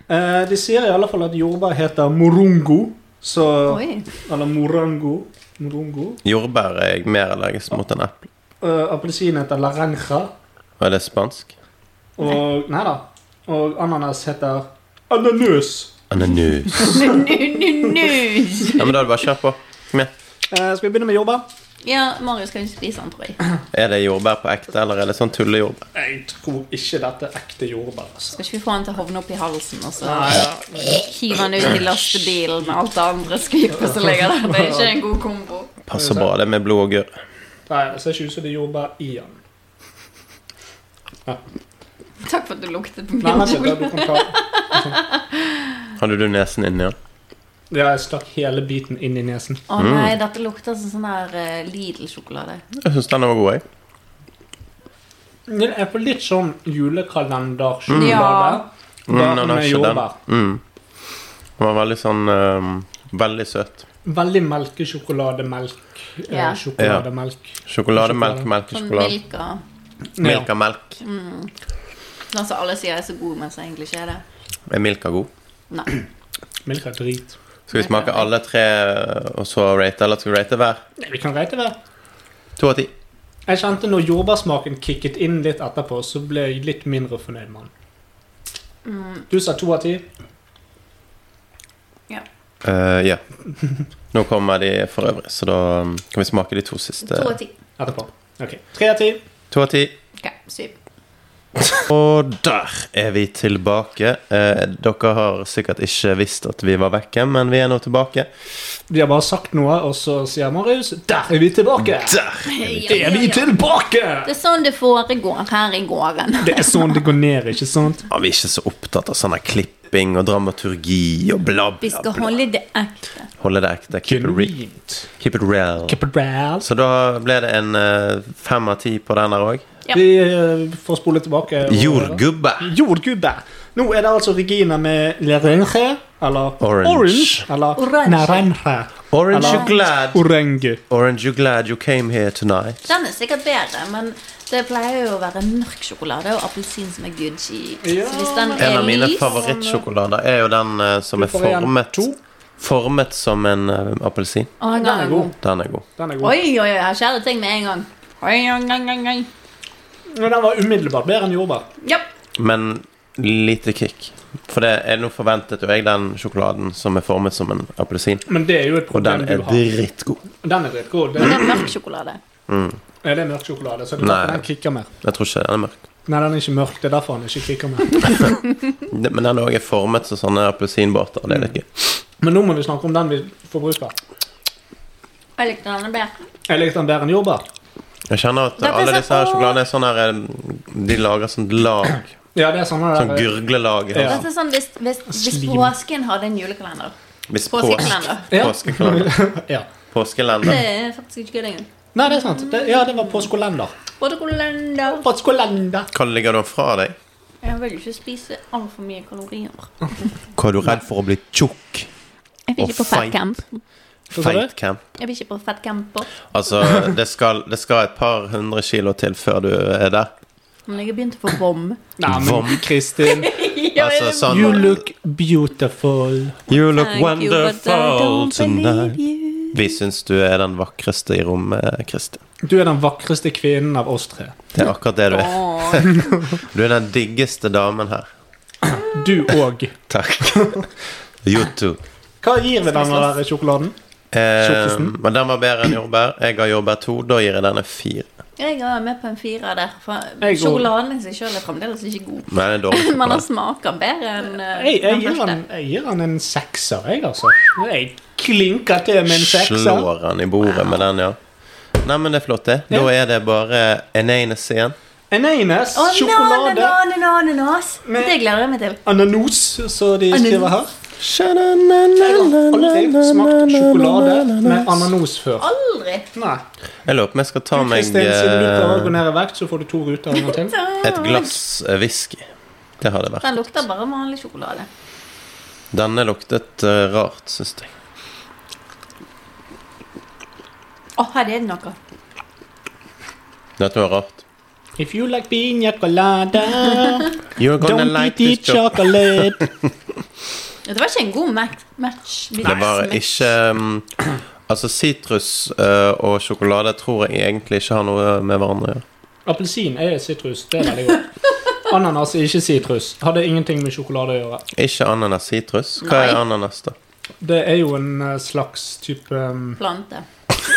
S3: Eh, de sier i alle fall at jordbær heter morongo. Så
S5: Oi.
S3: Eller morango. Morongo.
S4: Jordbær er jeg mer allergisk mot enn eple.
S3: Uh, Appelsin heter laranja.
S4: Og er det spansk?
S3: Og Nei da. Og ananas heter Ananøs.
S4: Ananus.
S5: Nu-nu-nu.
S4: Ja, men da er det bare kjør på. Kom igjen.
S3: Eh, skal vi begynne med jordbær?
S5: Ja, Marius kan ikke spise den, tror jeg.
S4: Er det jordbær på ekte, eller er det sånn tullejordbær?
S3: Jeg tror ikke dette er ekte jordbær. altså.
S5: Skal ikke vi få han til å hovne opp i halsen, og så hive han ut i lastebilen med alt det andre skvipet som ligger der? Det er ikke en god kombo.
S4: Passer bra, det med blod og gørr.
S3: Nei, Det ser ikke ut som det er jordbær i den.
S5: Takk for at du luktet på
S3: Nei,
S5: min
S3: vent litt,
S5: kjole.
S3: altså, du kan ta...
S4: Hadde du nesen inni den?
S3: Ja, jeg stakk hele biten inn i nesen.
S5: Å nei,
S3: Mm.
S5: dette lukter som sånn der eh, Lidl-sjokolade.
S4: Jeg syns den var god, jeg.
S3: Den er på litt sånn julekalender
S5: Ja.
S4: Mm,
S3: Bare
S4: den har
S3: med
S4: ikke den.
S3: jordbær.
S4: Mm. Den var veldig sånn ehm, Veldig søt.
S3: Veldig melkesjokolademelk.
S5: Ja.
S3: Ja. Sjokolademelk.
S4: Sjokolademelk,
S5: Sånn
S4: melkesjokolade.
S5: Milka.
S4: Milk av melk.
S5: Den som alle sier er så god, men som egentlig ikke er det.
S4: Er milka god?
S5: Nei.
S3: Ja. Melk er drit.
S4: Skal vi smake alle tre eh, og så rate, eller skal vi rate hver?
S3: Nei, Vi kan reite det.
S4: To av ti.
S3: Jeg kjente når jordbærsmaken kicket inn litt etterpå, så ble jeg litt mindre fornøyd med den.
S5: Mm.
S3: Du sa to av ti.
S4: Eh, ja. Nå kommer de for øvrig, så da mm, kan vi smake de to siste.
S5: To av ti.
S3: Etterpå. Ok, Tre av ti.
S4: To av ti.
S5: Ok, syv.
S4: Og der er vi tilbake. Eh, dere har sikkert ikke visst at vi var vekke, men vi er nå tilbake.
S3: De har bare sagt noe, og så sier Marius Der er vi tilbake!
S4: Der!
S5: Ja,
S3: Er vi
S5: ja, ja.
S3: tilbake!
S5: Det er sånn det foregår her i gården.
S3: Det er sånn det går ned, ikke sant?
S4: Ja, vi er ikke så opptatt av sånn her klipping og dramaturgi og bla,
S5: Vi
S4: bla,
S5: skal
S4: bla.
S5: holde det ekte.
S4: Holde det ekte. Keep it, re
S3: Genuint.
S4: keep it real.
S3: Capoeira.
S4: Så da ble det en eh, fem av ti på den der òg.
S5: Ja.
S3: Vi eh, får spole tilbake. og-
S4: Jordgubbe.
S3: Jordgubbe. Nå er det altså Regina med lerenge, eller
S4: Orange.
S3: eller
S5: Orange.
S3: naranja.
S4: Orange you
S3: Eller-
S4: glad?
S3: Orange.
S4: Orange you glad you came here tonight?
S5: Den er sikkert bedre, men det pleier jo å være mørk sjokolade og appelsin som er good cheese.
S3: Ja.
S5: Så hvis den
S4: En
S5: er
S4: av mine
S5: lys
S4: favorittsjokolader er jo den eh, som
S3: Du
S4: er
S3: får igjen
S4: formet
S3: to.
S4: Formet som en eh, appelsin.
S5: Å, den er god.
S4: Den er god.
S3: Den er god.
S5: Oi, oi, oi, her skjer det ting med en gang. Oi, oi, oi, oi, oi.
S3: Men den var umiddelbart bedre enn jordbær.
S5: Ja.
S4: Men lite kick. For det er nå forventet jo jeg den sjokoladen som er formet som en appelsin.
S3: Men det er jo et
S4: Og
S3: problem
S4: den er
S3: du har.
S4: dritgod.
S3: Den er dritgod. Det
S5: Men
S3: er,
S5: det er mørk sjokolade.
S3: er det mørk sjokolade, så det er
S4: Nei.
S3: derfor den kicker mer.
S4: Jeg tror ikke den er mørk.
S3: Nei, den er ikke mørk. Det er derfor den ikke kicker mer.
S4: Det- Men den òg er formet som sånne appelsinbåter. og Det er litt gøy.
S3: Men nå må vi snakke om den vi forbruker.
S5: Jeg likte denne bedre.
S3: Jeg likte den bedre enn jordbær.
S4: Jeg kjenner at
S5: Dette er
S4: alle
S5: så-
S4: disse her sjokoladene er sånn her eh, De lager sånn lag
S3: Ja, det er sånn det
S4: Sånn
S3: der-
S4: gurglelag. i halsen.
S5: Dette er sånn, hvis, hvis, hvis
S3: Slim.
S5: påsken hadde en julekalender
S4: Hvis
S5: Påskekalender.
S4: pås-
S3: Ja.
S4: Påskekalender.
S3: ja.
S5: Det
S4: Påskelender.
S5: er faktisk ikke gøy lenger.
S3: Nei, det er sant. Det, ja, det var påskolender.
S5: Påskekalender.
S3: Påskolender.
S4: Hva ligger da fra deg?
S5: Jeg vil ikke spise altfor mye kalorier.
S4: Hva er du redd for å bli tjukk?
S5: Jeg vil
S4: Og
S5: ikke på
S4: feit.
S5: fatcamp.
S3: Hva sa du?
S4: Feit camp?
S5: Jeg vil ikke på fatcamper.
S4: Altså, det skal, det skal et par hundre kilo til før du er der.
S5: Men jeg har begynt å få vom.
S3: Nei, men
S4: Vom.
S3: Kristin.
S4: Altså sånn
S3: You look beautiful.
S4: You look
S5: Thank you, but I
S4: wonderful
S5: don't believe
S4: tonight.
S5: you.
S4: Vi syns du er den vakreste i rommet, Kristin.
S3: Du er den vakreste kvinnen av oss tre.
S4: Det er akkurat det du er.
S5: Åh.
S4: Du er den diggeste damen her.
S3: Du òg.
S4: Takk. You too.
S3: Hva gir vi denne der sjokoladen?
S4: Eh,
S3: Tjukkesen.
S4: men den var bedre enn jordbær. Jeg har jordbær to. Da gir jeg denne fire.
S5: Jeg er med på en firer der. For
S3: Jeg går-
S5: sjokoladen i seg sjøl er fremdeles ikke god.
S4: Men den er dårlig.
S5: Men den
S4: sjokolade.
S5: smaker bedre enn eh,
S3: Jeg, jeg,
S5: den
S3: gir
S5: første.
S3: han, jeg gir han en sekser, jeg, altså. Jeg klinker til med en sekser.
S4: Slår han i bordet med den, ja. Nei, men det er flott, det. Da er det bare en eneste igjen.
S3: En Eines.
S5: Å,
S3: Sjokolade.
S5: Ananas, ananas. Det gleder jeg meg til.
S3: Ananos, som de skriver her. Jeg har aldri smakt sjokolade med ananos før.
S5: Aldri.
S3: Nei.
S4: Jeg lurer på om jeg skal ta meg
S3: Kristin, siden du prøver å gå
S4: eh,
S3: ned i vekt, så får du to ruter av og til.
S4: et glass eh, whisky. Det har det vært.
S5: Den lukter bare vanlig sjokolade.
S4: Denne luktet eh, rart, syns jeg.
S5: Å, her er det noe.
S4: Dette var rart.
S3: If you like bean colada,
S4: You're gonna
S3: don't
S4: like
S3: eat
S4: this
S3: eat
S4: job.
S3: chocolate.
S5: Det var ikke en god match. match. Vi-
S4: Det var
S5: match.
S4: ikke um, Altså, sitrus eh, og sjokolade tror jeg egentlig ikke har noe med hverandre å gjøre.
S3: Appelsin er sitrus. Det er veldig godt. Ananas er ikke sitrus. Hadde ingenting med sjokolade å gjøre.
S4: Ikke ananas sitrus. Hva er
S5: Nei.
S4: ananas, da?
S3: Det er jo en eh, slags type um,
S5: Plante.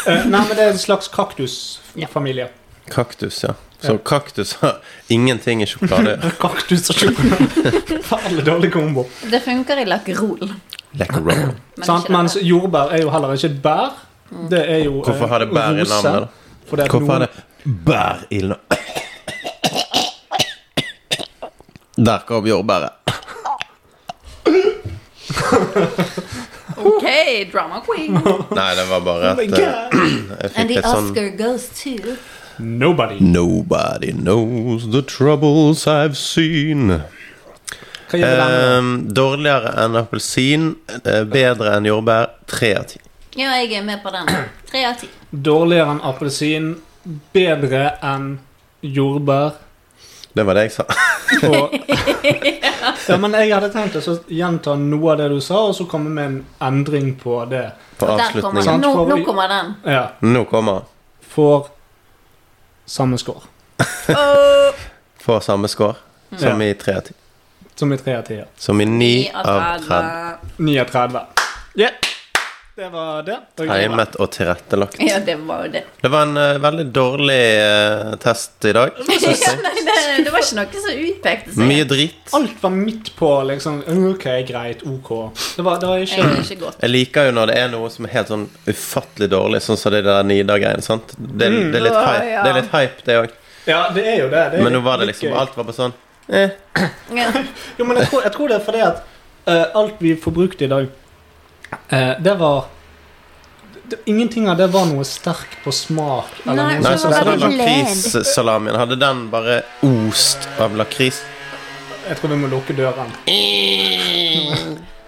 S3: eh, Nei, men det er en slags kaktusfamilie.
S4: Kaktus, ja. Så kaktus har ingenting i sjokolade å gjøre.
S3: Kaktus og sjokolade. Farlig dårlig kombo.
S5: Det funker i lakkerol.
S4: Lekkerol.
S5: men
S3: Sant?
S5: ikke
S3: Mens
S5: dette.
S3: jordbær er jo heller ikke et bær. Det er jo eh,
S4: Hvorfor har det bær i
S3: rose,
S4: navnet, da?
S3: Fordi at
S4: Hvorfor
S3: noen,
S4: er det bær i navnet? Der kom jordbæret.
S5: OK, drama queen.
S4: Nei, det var bare
S3: Oh my
S4: at eh, jeg
S5: And
S4: fikk
S5: the
S4: et sånn
S5: Oscar goes to
S3: Nobody.
S4: Nobody knows the troubles I've seen.
S3: Hva gjør vi der?
S4: Ehm, dårligere enn appelsin, eh, bedre enn jordbær. Tre av ti.
S5: Ja, jeg er med på den. Tre av ti.
S4: Eh.
S3: Dårligere enn appelsin, bedre enn jordbær.
S4: Det var det jeg sa.
S3: Og, ja, men jeg hadde tenkt å så gjenta noe av det du sa, og så komme med en endring på det.
S4: På
S5: Der kommer
S4: avslutningen.
S5: den.
S3: Sant,
S5: Nå,
S3: for-
S5: nå kommer den.
S3: Ja,
S4: Nå kommer han.
S3: Får samme score.
S4: Får samme score som
S3: Ja.
S4: i tre av ti.
S3: Som i 3 av 10.
S4: Som i ni
S5: Mm. Ni
S4: av 30.
S3: 9 av 30. Yeah. Det var det. Det var bra.
S4: Timet og tilrettelagt.
S5: Ja, det var jo det.
S4: Det var en eh, veldig dårlig eh, test i dag. synes jeg.
S5: Nei, det, det var ikke noe som utpekte seg.
S4: Mye drit.
S3: Alt var midt på, liksom. OK, greit, OK. Det var, det var
S5: Jeg er
S3: ikke
S5: ikke godt.
S4: Jeg liker jo når det er noe som er helt sånn ufattelig dårlig, sånn som det der Nidar-greiene. sant? Det, det, er litt
S5: Ja,
S4: hype,
S5: ja.
S4: det er litt hype, det òg.
S3: Ja, det er jo det. det er
S4: Men nå var det
S3: litt
S4: liksom
S3: gøy.
S4: Alt var bare sånn
S5: Ja.
S4: Eh,
S3: Jo, men jeg tror, jeg tror det er fordi at eh, alt vi forbrukte i dag, eh, det var det, Ingenting av det var noe sterkt på smak. Eller
S5: Nei,
S3: noe
S4: Nei,
S5: Det
S4: sånn
S5: var
S4: som den
S5: veldig
S4: lakrissalamien. Hadde den bare ost av lakris
S3: Jeg tror vi må lukke døren.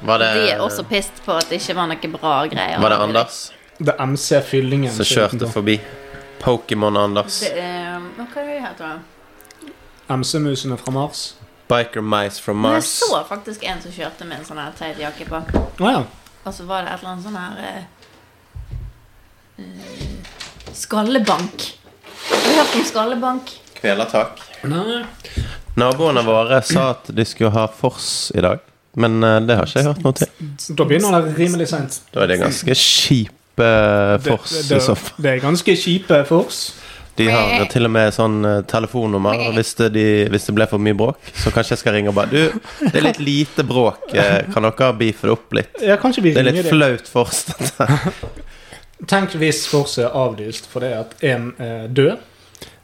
S4: Var det, eh,
S5: De er også pissed på at det ikke var noe bra greier.
S4: var det Anders
S3: Det er MC-fyllingen.
S4: som kjørte forbi? Pokémon-Anders.
S5: Det er, hva er det heter det?
S3: MC-musene fra Mars.
S4: Biker Mice from
S5: Men jeg
S4: Mars.
S5: så faktisk en som kjørte med en sånn her teit jakke på.
S3: Å ja.
S5: Og så var det et eller annet sånn her eh, eh, Skallebank. Har du hørt om skallebank?
S4: Kvelertak.
S3: Nei.
S4: Naboene våre sa at de skulle ha Fors i dag, men eh, det har ikke jeg hørt noe til.
S3: Da begynner det rimelig seint.
S4: Da er det ganske kjipe Fors
S3: det,
S4: i så fall.
S3: det er ganske kjipe fors.
S4: De har til og med sånn eh, telefonnummer. og Hvis det, de, hvis det ble for mye bråk, så kanskje jeg skal ringe og bare Du, det er litt lite bråk. eh, Kan dere beefe det opp litt?
S3: Ja, kanskje vi
S4: Det er
S3: ringer
S4: litt
S3: dem.
S4: flaut først.
S3: eh, Tenk hvis forset er avlyst fordi at en er død,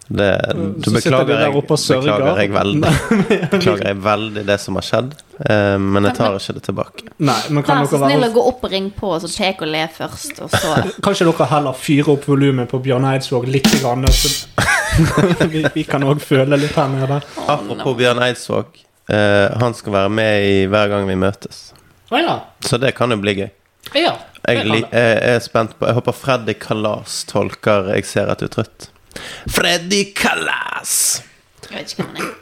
S4: Det, du
S3: Så sitter vi
S4: beklager,
S3: der
S4: jeg,
S3: oppe og sørger.
S4: beklager jeg veldig. Beklager jeg veldig det som har skjedd, eh, men jeg tar ikke det tilbake.
S3: Nei, men kan
S5: Vær så
S3: dere
S5: snill
S3: være
S5: å gå opp og ringe på, og så pek og le først, og så
S3: Kanskje dere heller fyrer opp volumet på Bjørn Eidsvåg litt? Grann, så vi, vi kan òg føle litt her nede.
S4: Apropos Bjørn Eidsvåg. eh, han skal være med i hver gang vi møtes.
S3: Å ja.
S4: Så det kan jo bli gøy.
S3: ja. det
S4: Jeg,
S3: kan
S4: li,
S3: det.
S4: jeg er spent på Jeg håper Freddy Kalas tolker 'Jeg ser at du er trøtt'. Freddy Kalas!
S5: Jeg vet ikke hva man er.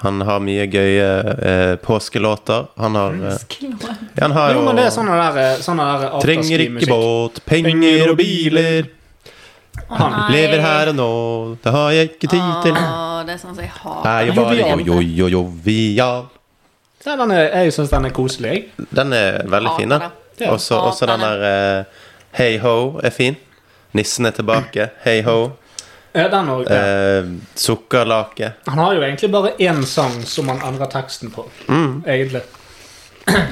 S4: Han har mye gøye eh, påskelåter. Han har eh, ja, Han har
S3: Jo, men det er
S4: jo
S3: sånne der, sånne der eh,
S4: Trenger ikke
S3: afterski-musikk.
S4: båt, penger og biler.
S3: Han-
S5: Nei.
S4: Lever her og nå, det har jeg ikke tid til.
S5: Åh, det er sånn som jeg
S4: Er
S5: hater.
S4: jo bare
S3: Ah. Jovial.
S4: jo, jo, jo, jovial.
S3: Ja, den er, jeg syns den er koselig. jeg.
S4: Den er veldig fin,
S5: Hater
S3: det.
S4: den. Også, også den der eh, Hey Ho er fin. Nissen er tilbake. Hey Ho.
S3: Ja, den også, ja.
S4: Eh, sukkerlake.
S3: Han har jo egentlig bare én sang som han endrer teksten på.
S4: Mm.
S3: Egentlig.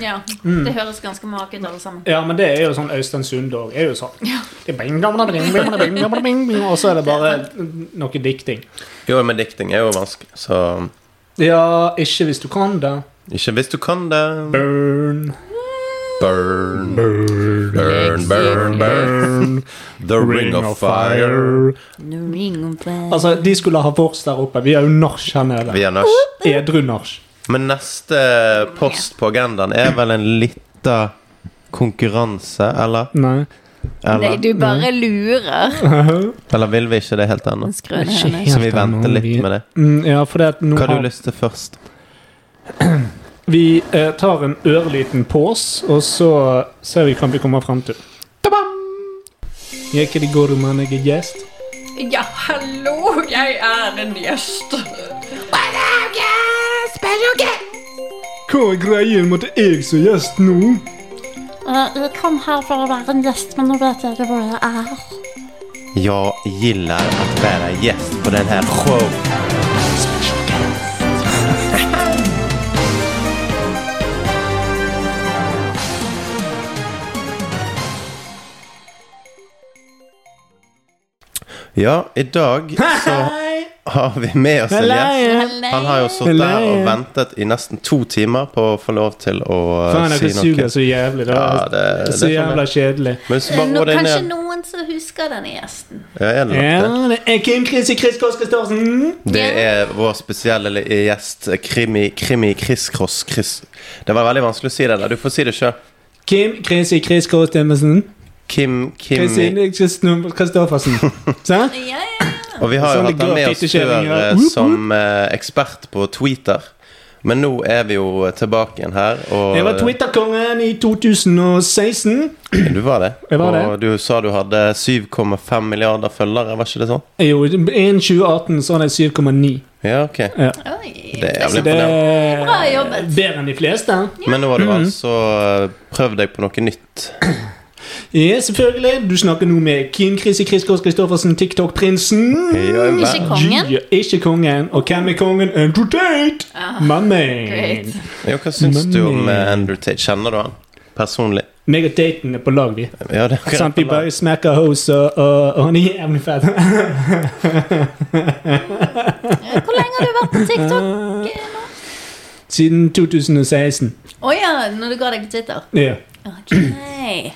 S5: Ja, det høres ganske make ut alle sammen.
S3: Ja, men det er jo sånn Øystein Sunde òg. Er jo sånn Det er bing, bing, bing, bing, bing, bing, bing, bing, Og så er det bare noe dikting.
S4: Jo, men dikting er jo vanskelig, så
S3: Ja, ikke hvis du kan det.
S4: ikke hvis du kan det.
S3: Burn.
S4: Burn, burn, burn, burn. The ring of fire.
S3: Altså, de skulle ha vors der oppe. Vi er jo nach her nede.
S4: Vi er nach.
S3: Edru nach.
S4: Men neste post på agendaen er vel en lita konkurranse, eller?
S3: Nei.
S5: Nei,
S4: Eller,
S5: du bare lurer.
S4: eller vil vi ikke Mm. det helt ennå?
S5: Skrøne henne.
S4: Så vi venter litt med det.
S3: Mm, ja, for det at nå
S4: Hva har
S3: har
S4: du lyst til først?
S3: Vi eh, tar en ørliten pause, og så ser vi hva vi kommer frem til. Jeg er i går men jeg er gjest.
S5: Ja, hallo, jeg er en gjest.
S3: Hva er greien med at jeg som gjest nå?
S6: Jeg kom Eh, her for å være en gjest, men nå vet jeg ikke hvor jeg er.
S4: Jeg gillar att vara gäst på den här showen. Ja, idag så har vi med oss en gjest. Han har jo sittet her og ventet i nesten to timer på å få lov til å
S3: Faen,
S4: si
S3: dere
S4: noe.
S3: suger så jævlig. Det
S4: Ja,
S3: var
S4: det, det
S3: så
S4: får
S3: jævla
S4: vi.
S3: kjedelig.
S4: Men hvis du bare
S5: Nå,
S4: roer deg
S5: kanskje
S4: ned
S5: noen som husker denne gjesten.
S4: Ja, er det nok det?
S3: Ja, det er Kim Chrissy Chris Kåss Christoffersen.
S4: Det er vår spesielle li- gjest, Krimi, Krimi, Chris Cross, Chris Det var veldig vanskelig å si det der. Du får si det sjøl.
S3: Kim Chrissy Chris Christoffersen.
S4: Kim, Kimi
S3: Christine Christen- Christoffersen. Sant?
S5: Ja, ja.
S4: Og vi har jo
S3: Sånn det
S4: hatt han
S3: går
S4: med oss
S3: fint i
S4: før
S3: skjevingen.
S4: eh,
S3: Woop,
S4: som eh, ekspert på Twitter. Men nå er vi jo tilbake igjen her, og
S3: Jeg var Twitter-kongen i 2016.
S4: Du var det.
S3: Jeg var det.
S4: Og du sa du hadde 7,5 milliarder følgere, var ikke det sånn?
S3: Jo, innen 2018 så hadde jeg 7,9.
S4: Ja, ok.
S5: Oi.
S3: Så
S4: Det er jævlig
S3: det
S4: imponerende.
S3: er
S5: Bra jobbet.
S3: bedre enn de fleste.
S4: Men nå har du
S3: Mm.
S4: altså eh, prøvd deg på noe nytt.
S3: Ja, selvfølgelig. Du snakker nå med Kim Chrissy Chris Kåss Christoffersen, TikTok-prinsen.
S5: Ikke kongen.
S3: Ja, ikke kongen. Og hvem er kongen? Andrew Tate!
S5: Ah,
S3: Mammen.
S5: Great.
S4: Jo, hva syns du om eh, Andrew Tate? Kjenner du han personlig?
S3: Meg og Dayton er på lag, vi.
S4: Ja, det er akkurat
S3: Sant, vi
S4: på lag.
S3: bare smacker hos, og, og, og han er jævlig fett.
S5: Hvor lenge har du vært på TikTok? eh, nå?
S3: Siden 2016.
S5: Å ja, når du ga deg på Twitter.
S3: Ja.
S5: Ok.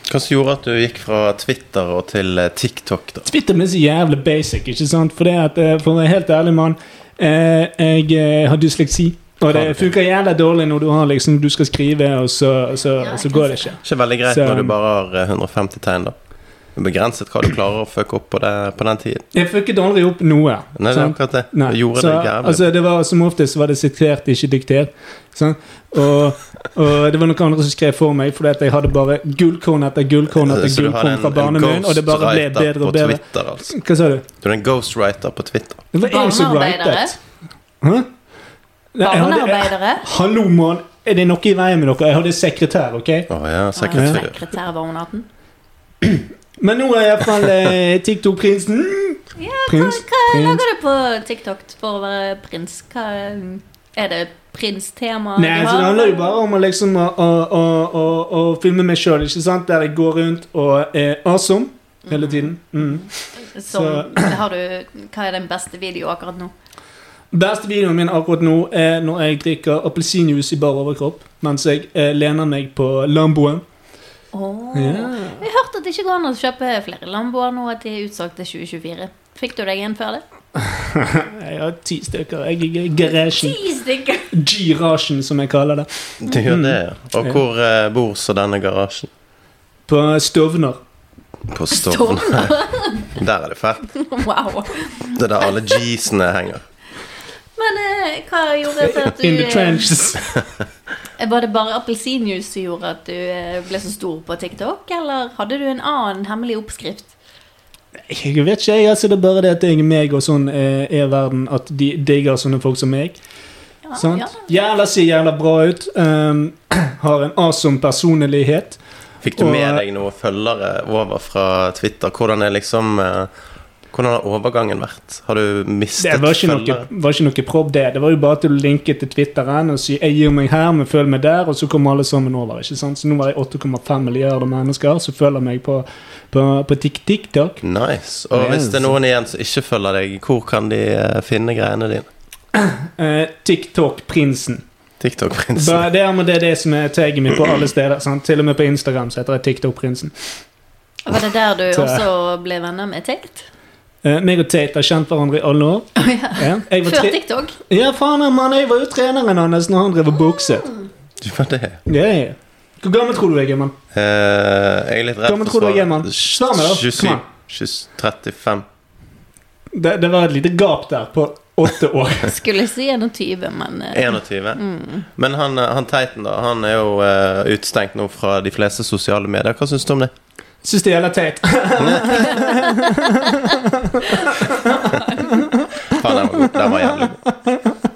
S4: Hva som gjorde at du gikk fra Twitter og til eh, TikTok, da?
S3: Twitter er så jævlig basic, ikke sant? For, det at, eh, for å være helt ærlig, mann, eh, jeg eh, har dysleksi. Og
S4: Har du
S3: det
S4: det?
S3: funker jævlig dårlig når du, har, liksom, du skal skrive, og så, så,
S5: Ja, jeg
S3: så
S5: kan
S3: går det
S5: se
S3: ikke.
S4: Ikke veldig greit
S3: Så-
S4: når du bare har eh, 150 tegn, da. Det er Begrenset hva du klarer å fucke opp på, det, på den tiden.
S3: Jeg fucket aldri opp noe.
S4: Nei, det er
S3: sant?
S4: akkurat det.
S3: Nei,
S4: Det gjorde
S3: så,
S4: det jævlig
S3: altså, det var, Som oftest var det sitert, ikke diktert. sant? Og, og det var noen andre som skrev for meg, fordi at jeg hadde bare gullkorn etter gullkorn etter
S4: Så du har
S3: gullkorn
S4: en,
S3: fra
S4: en
S3: barnemunn, og det bare ble
S4: ghostwriter
S3: bedre
S4: på
S3: og bedre.
S4: Twitter, altså.
S3: Hva sa du?
S4: Du er en ghostwriter på Twitter.
S3: Det var jeg som
S5: Barnearbeidere.
S3: writet. Hæ? Nei, jeg hadde-
S5: Barnearbeidere.
S3: Hallo, mann! Er det noe i veien med dere? Jeg hadde sekretær, OK?
S4: Å ja,
S5: Ja,
S4: sekretær.
S5: Sekretær var hun 18.
S3: Men nå er jeg iallfall eh, TikTok-prinsen.
S5: Ja,
S3: Prins,
S5: hva, hva
S3: prins.
S5: lager du på TikTok for å være prins? Hva, er det prinstema? du
S3: Nei, så
S5: har?
S3: det handler jo bare om å liksom å, å, å, å, å filme meg sjøl, ikke sant? Der jeg går rundt og er awesome. hele tiden. Mm.
S5: Som, har du, hva er den beste videoen akkurat nå?
S3: Beste videoen min akkurat nå er når jeg drikker appelsinjuice i bar overkropp mens jeg eh, lener meg på Lamboen.
S5: Åh.
S3: Ah, Ja.
S5: Jeg hørte at det ikke går an å kjøpe flere Lamboer nå, at de er utsolgt til 2024. Fikk du deg en før det?
S3: Mm. Jeg har ti stykker. Jeg er i garasjen.
S5: Ti stykker!
S3: Girasjen, som jeg kaller det.
S4: Du gjør det, ja.
S3: Mm.
S4: Og hvor eh, bor så denne garasjen?
S3: På Stovner.
S4: På Stovner. Der er det fett.
S5: Wow.
S4: Det er der alle G-sene henger.
S5: Men eh, hva gjorde til at du
S3: In the trenches.
S5: eh, Var det bare appelsinjuice som gjorde at du eh, ble så stor på TikTok, eller hadde du en annen hemmelig oppskrift?
S3: Jeg vet ikke, jeg. Altså, det er bare det at jeg er meg, og sånn eh, er verden. At de digger sånne folk som meg.
S5: Ja,
S3: Sant?
S5: ja.
S3: Jævla ser jævla bra ut. Um, har en awesome personlighet.
S4: Fikk du med
S3: Og-
S4: deg noen følgere over fra Twitter? Hvordan er liksom eh, Hvordan har overgangen vært? Har du mistet
S3: Det var ikke noe, var ikke noe prob, det. Det var jo bare til å linke til Twitteren og si 'jeg gir meg her, men følg meg der', og så kommer alle sammen over. ikke sant? Så nå var jeg 8,5 milliarder mennesker som følger meg på, på, på Tik- TikTok.
S4: Nice. Og hvis det er noen igjen som ikke følger deg, hvor kan de eh, finne greiene dine?
S3: Eh, TikTok-prinsen.
S4: TikTok-prinsen.
S3: Bare Det er med det, er det som er tagget mitt på alle steder. sant? Til og med på Instagram så heter jeg TikTok-prinsen.
S5: Var det der du
S3: Så-
S5: også ble venner med Tate?
S3: Eh, meg og Tate har kjent hverandre i alle år.
S5: Å ja.
S3: Ja, jeg var,
S5: Før
S3: tre
S5: TikTok?
S3: ja faen, mann, jeg var jo treneren hans når han drev og bokset.
S4: Du var det.
S3: Ja, ja. Hvor gammel tror du jeg er, mann?
S4: Eh, jeg er litt redd
S3: Hvor gammel tror du jeg er, mann? Svar meg, da. Kom
S4: 27.
S3: an.
S4: 20, 35.
S3: Det, det var et lite gap der på åtte år.
S5: Skulle si 21, men eh,
S4: 21. Men han, eh, han Teiten, da. Han er jo eh, utestengt nå fra de fleste sosiale medier. Hva syns du om det?
S3: Syns det er jævla teit.
S4: Faen, den var god. Den var jævlig god.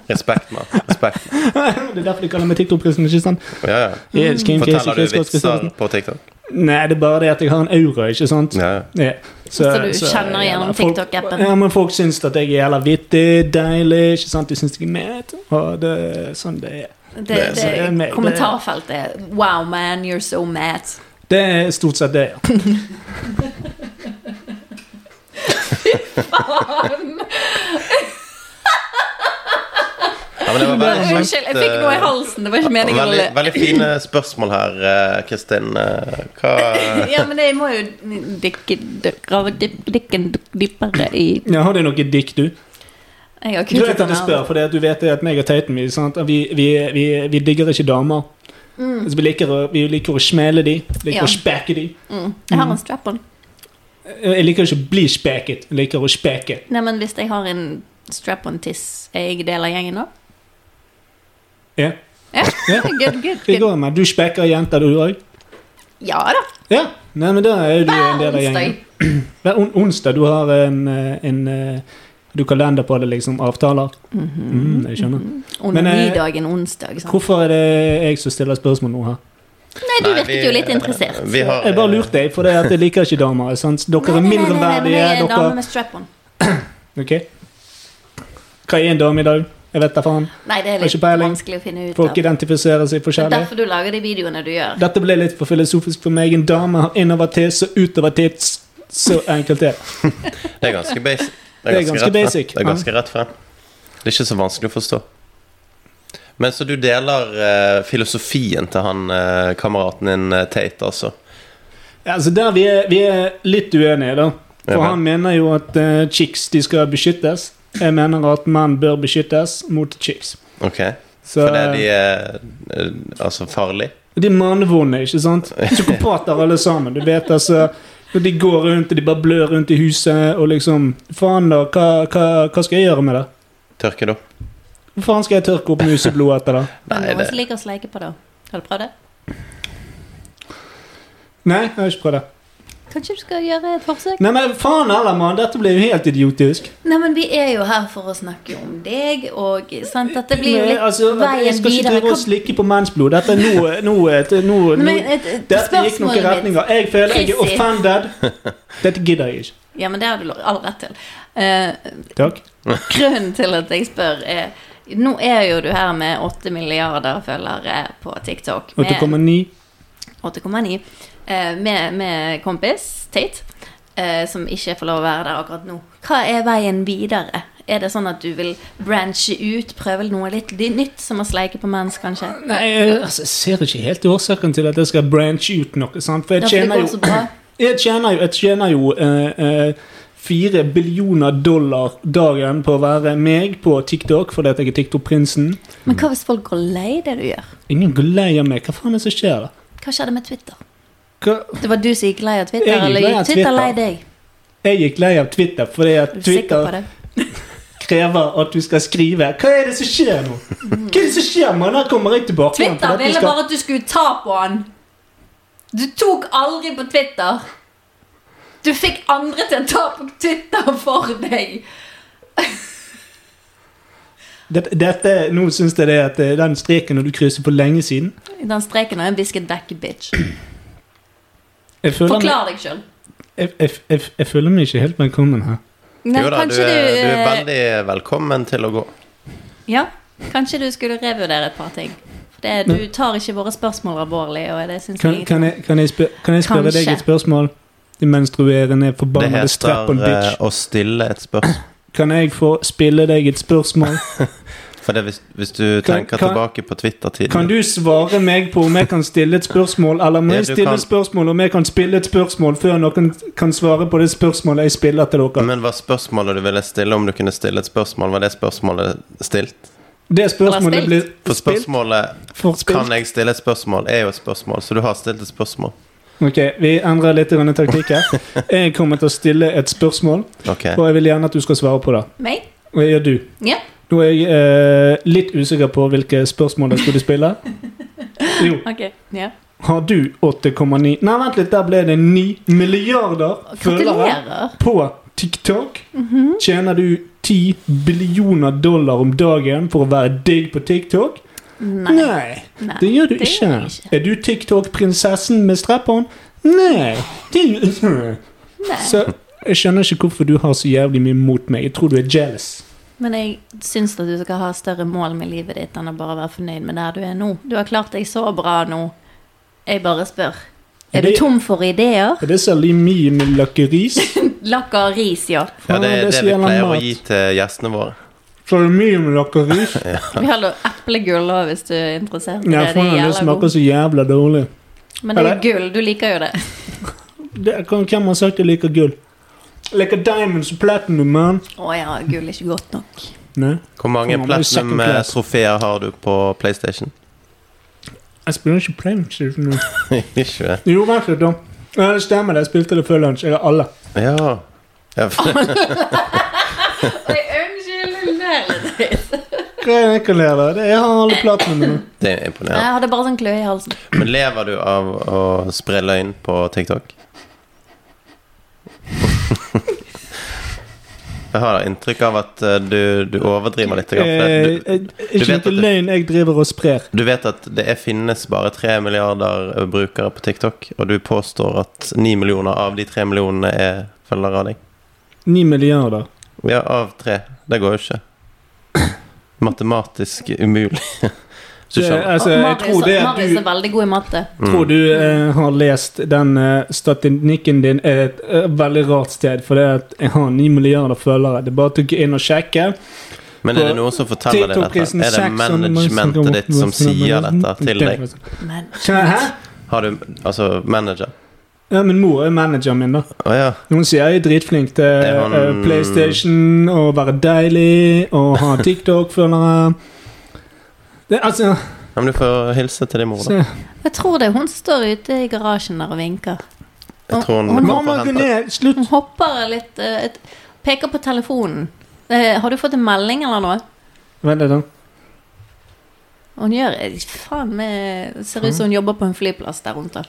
S4: Respekt, mann. Respekt. mann.
S3: Det er derfor de kaller meg TikTok-prisen. ikke sant?
S4: Ja, ja.
S3: Jeg elsker en fjes og
S4: Mm. Forteller du
S3: fjes, godt
S4: vitser
S3: spesielt.
S4: på TikTok?
S3: Nei, det er bare det at jeg har en aura, ikke sant?
S4: Ja, ja.
S3: Ja.
S5: Så du kjenner gjennom
S3: folk-
S5: TikTok-appen?
S3: Ja, men folk syns at jeg er jævla vittig, deilig, ikke sant? De syns jeg er mad. Og det er sånn det er.
S5: det,
S4: Det-
S5: det,
S3: det- det-
S5: kommentarfeltet er Wow, man, you're so mad.
S3: Det er stort sett det, ja.
S4: ja men det var veldig kjekt,
S5: Unnskyld, jeg fikk noe i
S4: eh,
S5: halsen. Det var ikke meningen å
S4: Veldig,
S5: le.
S4: veldig fine spørsmål her, eh, Kristin. Eh, Hva
S5: Ja, men jeg må jo dykke dykke- grave dyp- dykken dypere i
S3: ja har du noe dikt, du?
S5: Jeg har
S3: Greit
S5: kuttet
S3: at du
S5: den
S3: spør,
S5: av.
S3: for det at du vet det at meg og Taten vi, sant? at vi, vi, vi, vi digger ikke damer.
S5: Mm,
S3: Så Altså, vi liker å, vi liker å smele de, liker
S5: Ja.
S3: å spekke de. Eh,
S5: Mm. Jeg har en strap-on.
S3: Jeg liker ikke å bli spekket, jeg liker å speke.
S5: Nei, men hvis jeg har en strap-on-tiss, er jeg del av gjengen nå?
S3: Ja.
S5: Ja,
S3: Ja.
S5: good, good,
S3: Det
S5: good.
S3: går med. Du spekker jenter, du òg?
S5: Ja da.
S3: Ja. Nei, men da er jo du en del av gjengen.
S5: Onsdag.
S3: Hver on onsdag. Du har en, eh, en eh, Du kalender på det, liksom. Avtaler.
S5: Mm-hmm.
S3: Mm, jeg skjønner. Men, eh,
S5: Onanidagen onsdag. sant?
S3: Hvorfor er det jeg som stiller spørsmål nå her?
S5: Nei, eh, du virket jo litt interessert.
S4: Vi har, eh,
S3: Jeg bare lurte deg, for det at jeg liker ikke damer. Sant? Dere er
S5: Nei, nei, nei, nei, nei, men Jeg er
S3: mindreverdige.
S5: en dame
S3: Dere
S5: med strap-on.
S3: Ok. Hva er en dame i dag? Jeg vet da faen.
S5: Nei, det er
S3: Har
S5: litt
S3: ikke peiling.
S5: vanskelig å finne ut av.
S3: Folk identifiserer seg
S5: Det er
S3: forskjellig.
S5: derfor du lager de videoene du gjør.
S3: Dette ble litt for filosofisk for meg. En dame har innover tiss og utover tits. Så enkelt er det.
S4: Det er ganske basic.
S3: Det er ganske
S4: rett frem.
S3: basic,
S4: Det er
S3: ja.
S4: ganske rett frem. Det er ikke så vanskelig å forstå. Men så du deler eh, filosofien til han eh, kameraten din, eh, Tate, altså?
S3: Ja, altså der vi er, vi er litt uenige, da. For
S4: Ja vel.
S3: han mener jo at eh, chicks de skal beskyttes. Jeg mener at menn bør beskyttes mot chicks.
S4: Ok?
S3: Så eh,
S4: Fordi de er eh, altså farlige?
S3: de er mannvonde, ikke sant? Psykopater alle sammen. Du vet altså når De går rundt og de bare blør rundt i huset og liksom Faen, da. Hva, hva, hva skal jeg gjøre med det?
S4: Tørke det opp?
S3: Hvor faen skal jeg tørke opp museblod etter det?
S5: Men
S4: Nei,
S5: noen
S4: det-
S5: som liker å sleike på det. Har du prøvd det?
S3: Nei, jeg har ikke prøvd det.
S5: Kanskje du skal gjøre et forsøk?
S3: Nei, men faen heller, mann. Dette ble jo helt idiotisk.
S5: Nei, men vi er jo her for å snakke om deg, og sant, dette blir jo
S3: Nei,
S5: litt
S3: altså, jeg
S5: veien
S3: skal ikke
S5: videre.
S3: drive og
S5: Kom,
S3: slikke på mennsblod. Dette er nå, eh, nå, nå, nå
S5: men et, et,
S3: Dette gikk noen
S5: spørsmålet mitt
S3: retninger. Jeg føler jeg er
S5: Chrissy.
S3: offended. Dette gidder jeg ikke.
S5: Ja, men det har du lo- all rett til. Eh,
S3: Takk.
S5: grunnen til at jeg spør, er Nå er jo du her med 8 milliarder følgere på TikTok. med-
S3: 8,9.
S5: 8,9 eh, med, med kompis, Tate. eh, som ikke får lov å være der akkurat nå. Hva er veien videre? Er det sånn at du vil branche ut, prøve noe litt nytt, som å sleike på mens, kanskje?
S3: Nei, altså, jeg ser ikke helt årsaken til at jeg skal branche ut noe, sant? For
S5: Ja, for det
S3: jeg tjener
S5: går
S3: jo
S5: så bra.
S3: Jeg tjener jo, jeg tjener jo eh, eh, 4 billioner dollar dagen på å være meg på TikTok fordi at jeg er TikTok-prinsen.
S5: Men hva hvis folk går lei det du gjør?
S3: Ingen går lei av meg. Hva faen er det som skjer, da?
S5: Hva skjedde med Twitter?
S3: Hva?
S5: Det var du som gikk lei av Twitter,
S3: Jeg gikk
S5: eller
S3: lei av
S5: gikk Twitter
S3: Twitter.
S5: lei deg?
S3: Jeg gikk lei av Twitter fordi at
S5: Er du sikker på
S3: Twitter
S5: det?
S3: krever at du skal skrive Hva er det som skjer nå? Hva er det som skjer, mann? Her kommer jeg tilbake. igjen,
S5: Mm.
S3: fordi
S5: Twitter
S3: at du
S5: ville
S3: skal-
S5: bare at du skulle ta på han. Du tok aldri på Twitter. Du fikk andre til å ta på Twitter for deg.
S3: Dette, dette, nå syns jeg det at eh, den streken når du krysser for lenge siden
S5: Den streken har jeg visket vekk, bitch.
S3: jeg føler, meg,
S5: Forklar deg sjøl.
S3: jeg, jeg, jeg, jeg føler meg ikke helt velkommen her.
S5: Nei,
S4: jo da, du
S5: kanskje
S4: er,
S5: du,
S4: du er
S5: eh,
S4: veldig velkommen til å gå.
S5: Ja, kanskje du skulle revurdere et par ting. For Det, du tar ikke våre spørsmål alvorlig, og det syns
S3: Kan,
S5: jeg
S3: kan jeg, kan jeg, spør, kan jeg spørre deg
S5: Kanskje.
S3: et spørsmål? De menstruerende,
S4: Det
S3: forbannede
S4: heter
S3: strappen bitch.
S4: eh, å stille et spørsmål.
S3: Kan jeg få spille deg et spørsmål?
S4: For det, hvis, hvis du
S3: Kan-
S4: tenker
S3: kan-
S4: tilbake på
S3: Kan
S4: Twitter-tiden
S3: du svare meg på om jeg kan stille et spørsmål, eller må
S4: Ja,
S3: jeg
S4: du
S3: stille
S4: kan.
S3: et spørsmål om jeg kan spille et spørsmål før noen kan svare på det spørsmålet jeg spiller til dere?
S4: Men var spørsmålet du ville stille, om du kunne stille et spørsmål, var det spørsmålet stilt?
S3: Det spørsmålet
S5: spilt.
S3: blir
S4: For spørsmålet
S3: for
S4: Kan
S3: spilt.
S4: jeg stille et spørsmål? er jo et spørsmål, så du har stilt et spørsmål.
S3: Ok, vi endrer litt grann taktikk her. Jeg kommer til å stille et spørsmål,
S4: Ok.
S3: og jeg vil gjerne at du skal svare på det.
S5: Meg?
S3: Og det gjør du.
S5: Ja.
S3: Nå er jeg eh, litt usikker på hvilke spørsmål jeg skulle spille. Jo.
S5: Ok. Ja.
S3: Har du 8,9 Nei, vent litt, der ble det 9 milliarder følgere
S5: Gratulerer. Mhm.
S3: på TikTok. Tjener du 10 billioner dollar om dagen for å være digg på TikTok?
S5: Nei. Nei,
S3: det gjør du
S5: det
S3: ikke.
S5: gjør jeg ikke.
S3: Er du TikTok-prinsessen med strap-on? Nei. Det gjør ikke.
S5: Nei.
S3: Så jeg skjønner ikke hvorfor du har så jævlig mye mot meg. Jeg tror du er jealous.
S5: Men jeg syns at du skal ha større mål med livet ditt enn å bare være fornøyd med der du er nå. Du har klart deg så bra nå. Jeg bare spør. Er du
S3: Det-
S5: tom for ideer?
S3: Er det salimi med lakris?
S5: Lakk og ris, ja.
S4: Ja, det er
S3: det
S4: det
S3: som
S4: vi
S3: gjelder
S4: pleier å
S3: mat.
S4: gi til gjestene våre.
S3: Salimi med lakris?
S5: Vi har da eplegull òg, hvis du er interessert. i
S3: Ja,
S5: det. Det er
S3: faen, det
S5: jævla
S3: smaker
S5: god.
S3: så jævla dårlig.
S5: Men det er
S3: Eller?
S5: gull. Du liker jo det.
S3: Det kan, hvem har sagt jeg liker gull? Jeg liker diamonds og platinum, man.
S5: Å ja, gull er ikke godt nok.
S3: Nei,
S4: Hvor mange
S3: Nå må vi sjekke opp litt.
S4: platinum-trofeer har du på PlayStation?
S3: jeg spiller ikke PlayStation nå.
S4: Ikke
S3: Jo, vent litt, da. Ja, det stemmer, det. jeg spilte det før lunsj. Jeg har alle.
S4: Ja. ja for,
S5: Oi, Unnskyld, jeg ler litt.
S3: Hva er det jeg kan lære? Det- Jeg har alle platinumene.
S4: det er
S5: Jeg
S4: imponerende.
S5: hadde bare sånn kløe i halsen.
S4: Men lever du av å spre løgn på TikTok? Jeg har inntrykk av at eh, du, du overdriver litt. grann, for
S3: Eh,
S4: det-
S3: eh, Ikke
S4: vet at
S3: noe
S4: det-
S3: løgn jeg driver og sprer.
S4: Du, du vet at det er, finnes bare tre milliarder eh, brukere på TikTok, og du påstår at ni millioner av de tre millionene er følgere av deg.
S3: Ni milliarder.
S4: Ja, av tre. Det går jo ikke. Matematisk umulig. Hvis
S3: Det,
S4: du skjønner. Mm.
S3: altså, jeg tror det at
S5: Marius er
S3: du
S5: veldig god i matte.
S3: tror du eh, har lest den eh, statistikken din er et eh, veldig rart sted, for det at jeg har ni milliarder følgere. Det er bare å gå inn og sjekke.
S4: Men er det noen som forteller deg dette? Er det managementet ditt som sier dette til deg?
S5: Men
S3: Hæ?
S4: Har du altså manager?
S3: Ja, men mor er manageren min, da.
S4: Å ja.
S3: Hun sier jeg er dritflink til
S4: Er hun-
S3: eh, PlayStation og være deilig og ha TikTok-følgere. Det, altså
S4: ja. Men du får hilse til din mor, da.
S3: se.
S5: jeg tror det er hun som står ute i garasjen der og vinker.
S4: Jeg tror hun
S5: Hun-
S4: kommer for
S3: Mamma,
S4: å
S3: gå
S4: hente
S3: ned! Slutt!
S5: Hun hopper litt eh, et, Peker på telefonen. Eh, har du fått en melding eller noe?
S3: Vent litt, da.
S5: Hun gjør eh, Faen, eh, ser ut som
S3: Mm.
S5: hun jobber på en flyplass der rundt. da.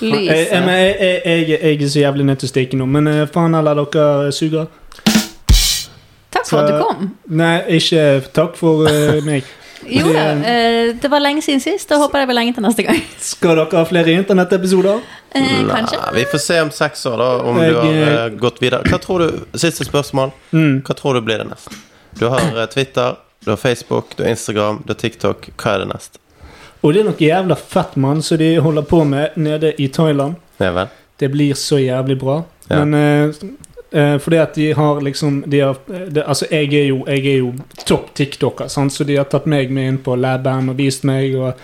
S5: Lys.
S3: Jeg, jeg, men jeg, jeg, jeg, jeg er så jævlig nødt til å stikke nå, men eh, faen heller dere suger.
S5: Takk for at du kom.
S3: Nei, ikke takk for eh, meg.
S5: Jo da, eh, det var lenge siden sist. Da håper jeg det blir lenge til neste gang.
S3: Skal dere ha flere internettepisoder?
S5: Eh, kanskje.
S4: Nei, vi får se om seks år, da, om du
S3: Jeg,
S4: har
S3: eh,
S4: eh, gått videre. Hva tror du, Siste spørsmål. Hva tror du blir det neste? Du har eh, Twitter, du har Facebook, du har Instagram, du har TikTok. Hva er det neste?
S3: Og det er noe jævla fett, mann, som de holder på med nede i Thailand.
S4: Ja vel?
S3: Det blir så jævlig bra.
S4: Ja.
S3: Men eh, eh, fordi at de har liksom de har, det- Altså, jeg er jo, jeg er jo topp TikToker, sant? så de har tatt meg med inn på laben og vist meg. Og,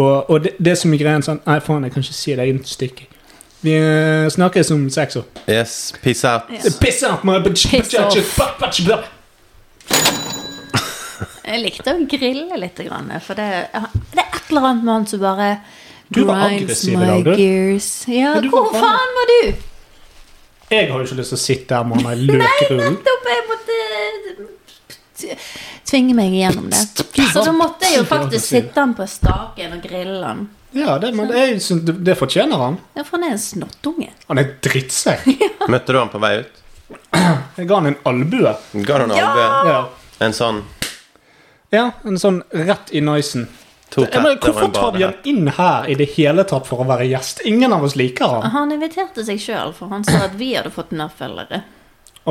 S3: og, og det, det som er greien sånn Nei, faen, jeg kan ikke si det inn stikket. Vi eh, snakkes om seks år.
S4: Yes, peace out.
S5: Ja.
S3: Piss off, my bitch!
S5: Piss
S3: bitch,
S5: off.
S3: bitch, bitch, bitch, bitch.
S5: Jeg likte å grille litt, grann, for det, det er et eller annet med han som bare
S3: Du var
S5: grinds
S3: aggressiv i
S5: my
S3: dag, du.
S5: gears. Ja,
S3: Ja, du
S5: hvor
S3: var faen-
S5: faen var du?
S3: Jeg har jo ikke lyst til å sitte her med han der løkrullen.
S5: Nettopp! Jeg måtte t- tvinge meg igjennom det. Så da måtte jeg jo faktisk sitte han på staken og grille han.
S3: Ja, det, men jeg synes det, det fortjener han.
S5: Ja, for han er en snottunge.
S3: Han er drittsekk.
S4: Møtte du han på vei ut?
S3: Jeg ga han en albue.
S4: Ga du han
S5: Ja!
S4: albue?
S3: Ja.
S4: En sånn
S3: ja, en sånn rett i nicen.
S4: to
S3: Ja, men
S4: tetter og
S3: hvorfor
S4: en
S3: tar vi han
S4: badehette?
S3: inn her i det hele tatt for å være gjest? Ingen av oss liker han.
S5: Han inviterte seg sjøl, for han sa at vi hadde fått nærfølgere.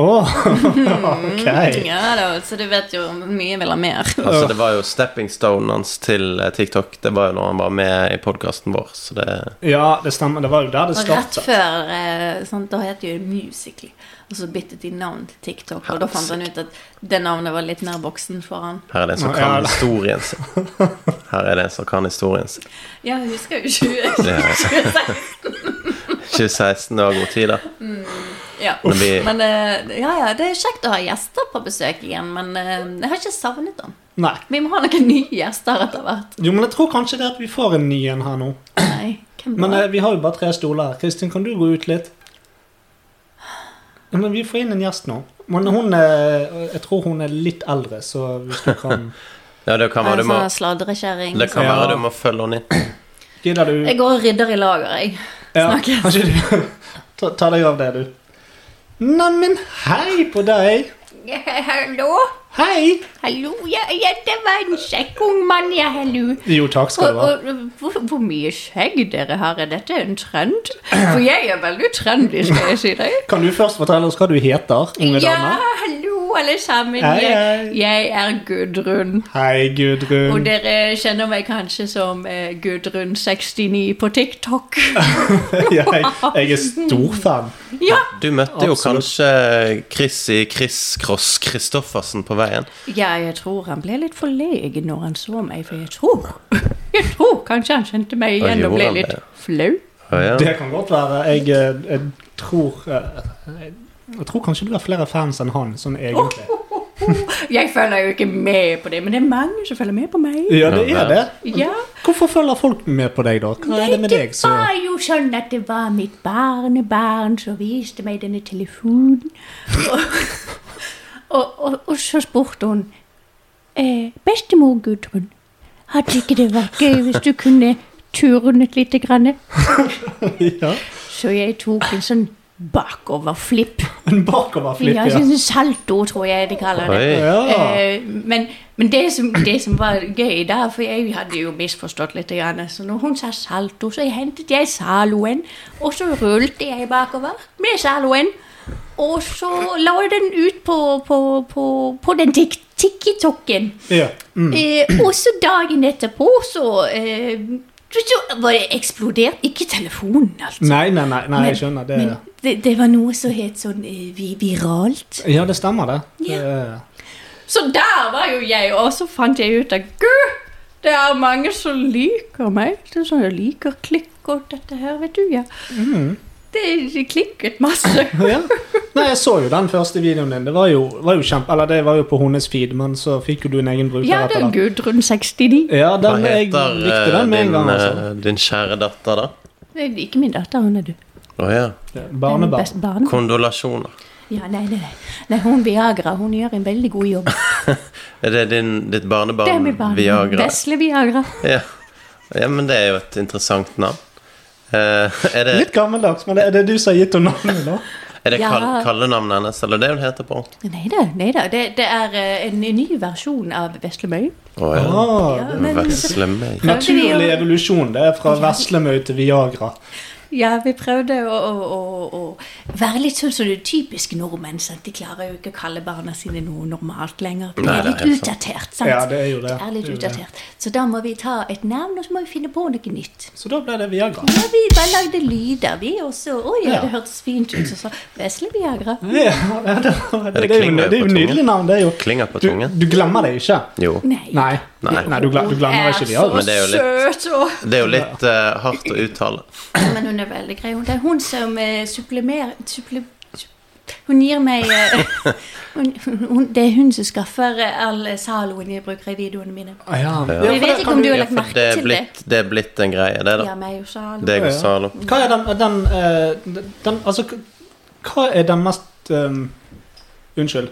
S5: Ah.
S3: Åh, ok.
S5: Ja da, så du vet jo mye vil ha mer.
S4: Altså, det var jo stepping stone hans til eh, TikTok. Det var jo når han var med i podkasten vår, så det
S3: Ja, det stemmer. Det var jo der det
S5: Og
S4: altså.
S5: rett
S3: startet.
S5: før eh, sant, Da het jo Musical.ly, og så byttet de navn til TikTok. Og da fant han ut at det navnet var litt nær boksen for han.
S4: Her er det en som
S3: Nå,
S4: kan
S3: ja.
S4: historien sin. Her er det en som kan historien sin.
S5: Ja, jeg husker jo 20.
S4: Det er 2016 var god tid, da.
S5: Ja.
S4: Men vi-
S5: Men eh, ja, ja, det er kjekt å ha gjester på besøk igjen, men eh, jeg har ikke savnet han.
S3: Nei.
S5: Vi må ha noen nye gjester etter hvert.
S3: Jo, men jeg tror kanskje det at vi får en ny en her nå.
S5: Nei, hvem
S3: Men
S5: var
S3: eh, vi har jo bare tre stoler her. Kristin, kan du gå ut litt? Ja, men vi får inn en gjest nå. Men hun er Jeg tror hun er litt eldre, så hvis du kan
S4: Ja, det kan
S5: det?
S4: være du
S5: En
S4: må,
S5: sånn sladrekjerring.
S4: det kan
S3: Ja.
S4: være du må følge han inn.
S3: Gidder du?
S5: Jeg går og rydder i lager, jeg.
S3: Ja,
S5: Snakkes.
S3: kanskje du ta, ta deg av det, du. Neimen, hei på deg.
S5: Hallo?
S3: Hei!
S5: Hallo, jeg heter Vannsjekk, ung mann, jeg, hallo.
S3: Jo, takk skal
S5: Og,
S3: du ha.
S5: og hvor, hvor mye skjegg dere har, er dette en trend? For jeg er veldig trendy, skal jeg si deg.
S3: Kan du først fortelle oss hva du heter, unge
S5: Ja,
S3: dame?
S5: hallo alle sammen.
S3: Hei,
S5: Jeg,
S3: hei.
S5: jeg er Gudrun.
S3: Hei,
S5: Og
S3: Gudrun.
S5: dere kjenner meg kanskje som eh, Gudrun69 på TikTok.
S3: Jeg, jeg er stor fan.
S5: Ja,
S4: Du møtte jo
S3: Absolutt.
S4: kanskje Chris i Chris Cross Christoffersen på veien.
S5: ja jeg tror han ble litt forlegen når han så meg, for jeg tror Jeg tror kanskje han kjente meg
S4: Ja,
S5: igjen og
S4: gjorde
S5: ble
S4: han
S5: litt
S4: det?
S5: flau.
S4: Å, ja.
S3: Det kan godt være. Jeg, eh, jeg tror eh, jeg, jeg tror kanskje du har flere fans enn han, sånn
S5: Oh.
S3: egentlig.
S5: Jeg følger jo ikke med på det, men det er mange som følger med på meg.
S3: Ja, det er det.
S5: Ja.
S3: Hvorfor følger folk med på deg, da? Hva er det med deg som
S5: var jo sånn at det var mitt barnebarn som viste meg denne telefonen. Oh, Og, og, og, og så spurte hun eh, Bestemor Gudrun, hadde ikke det vært gøy hvis du kunne turnet litt? Grann?
S3: ja.
S5: Så jeg tok en sånn bakoverflipp.
S3: En
S5: Ja,
S3: bakoverflipp,
S5: en
S3: ja.
S5: sånn salto, tror jeg de kaller det.
S4: Oi.
S3: ja.
S5: Eh, men men det, som, det som var gøy da, for jeg hadde jo misforstått litt, grann, så når hun sa salto, så hentet jeg saloen, og så rullet jeg bakover med saloen, og så la jeg den ut på, på, på, på den tik- tikki-tokken.
S3: ja. Mm.
S5: Eh, og så dagen etterpå, så, eh, så var det eksplodert. Ikke telefonen, altså.
S3: Nei, nei, nei, nei, jeg skjønner. Det,
S5: Men det, det var noe som het sånn eh, vi- viralt.
S3: ja, det stemmer, det. det er-
S5: Så der var jo jeg, og så fant jeg ut at gud, det er mange som liker meg. Det er sånn, Jeg liker klikk og dette her, vet du, ja. Det det klikket masse.
S3: ja. Nei, jeg så jo den første videoen din. Det var jo, var jo kjempe... Eller det var jo på hennes feed, men så fikk jo du en egen bruker
S5: Ja, det
S3: etter
S5: er
S3: det.
S5: Gudrun 69.
S3: Ja,
S4: Hva
S3: den, jeg
S4: heter
S3: likte
S4: eh,
S3: den med en
S4: din,
S3: gang, altså.
S4: eh, din kjære datter, da?
S5: Det er ikke min datter, hun er du.
S4: Å ja.
S3: Barnebarn.
S5: Best barn.
S4: Kondolasjoner.
S5: Ja, nei, nei, nei. nei, hun Viagra, hun gjør en veldig god jobb.
S4: Er det din, ditt
S5: Det er
S4: barnebarn
S5: min barn.
S4: Viagra?
S5: Vesle Viagra.
S4: Ja. ja, men det er jo et interessant navn. Eh, er det,
S3: Litt gammeldags, men det er det du som har gitt henne navnet nå?
S4: er det
S5: Ja.
S4: kall- kallenavnet hennes, eller det hun heter på? ordentlig?
S5: Nei da, nei da. Det, det er eh, en ny versjon av Veslemøy.
S4: Å ja.
S3: Ah,
S5: Ja, men- Prøvde
S4: Veslemøy.
S5: vi å-
S3: naturlig evolusjon. Det er fra Veslemøy til Viagra.
S5: Ja, vi prøvde å, å, å, å være litt sånn som det er typisk nordmenn. sant? De klarer jo ikke å kalle barna sine noe normalt lenger. Det
S4: Nei,
S5: er
S4: det er
S5: litt
S4: helt sant.
S5: utdatert. sant?
S3: Ja, det er jo det.
S5: Det er litt
S3: Det er jo det.
S5: utdatert. Så da må vi ta et navn, og så må vi finne på noe nytt.
S3: Så da ble det Viagra.
S5: Ja, vi bare lagde lyder, vi også. Å ja,
S3: Ja.
S5: det hørtes fint ut. Så sa Vesle Viagra.
S3: Ja, ja, det, det, det, er jo, det er jo nydelig navn. Det er jo
S4: Klinger på
S3: du,
S4: tungen.
S3: du glemmer det ikke.
S4: Jo.
S5: Nei.
S3: Nei.
S4: Nei.
S3: Nei, du, gla- du glemmer
S5: Hun
S3: ikke Viagra.
S4: Men det er jo
S5: er så søt og
S4: Det er jo litt eh, hardt å uttale.
S5: Men hun er veldig grei. Hun- Det er hun som eh, supplemer... Supple, sup- hun gir meg eh, hun, hun, Det er hun som skaffer eh, all saloen jeg bruker i videoene mine.
S3: Ah, ja. Ja,
S5: Jeg
S3: for
S5: vet
S3: det
S5: ikke
S3: kan
S5: om du har lagt
S4: For
S5: merke
S4: det er
S5: til det.
S4: blitt, det er blitt en greie, det,
S5: Ja,
S4: da.
S5: meg og Salo.
S4: Deg og Zalo.
S3: Hva er den, den, eh, den Altså, hva er den mest eh, Unnskyld.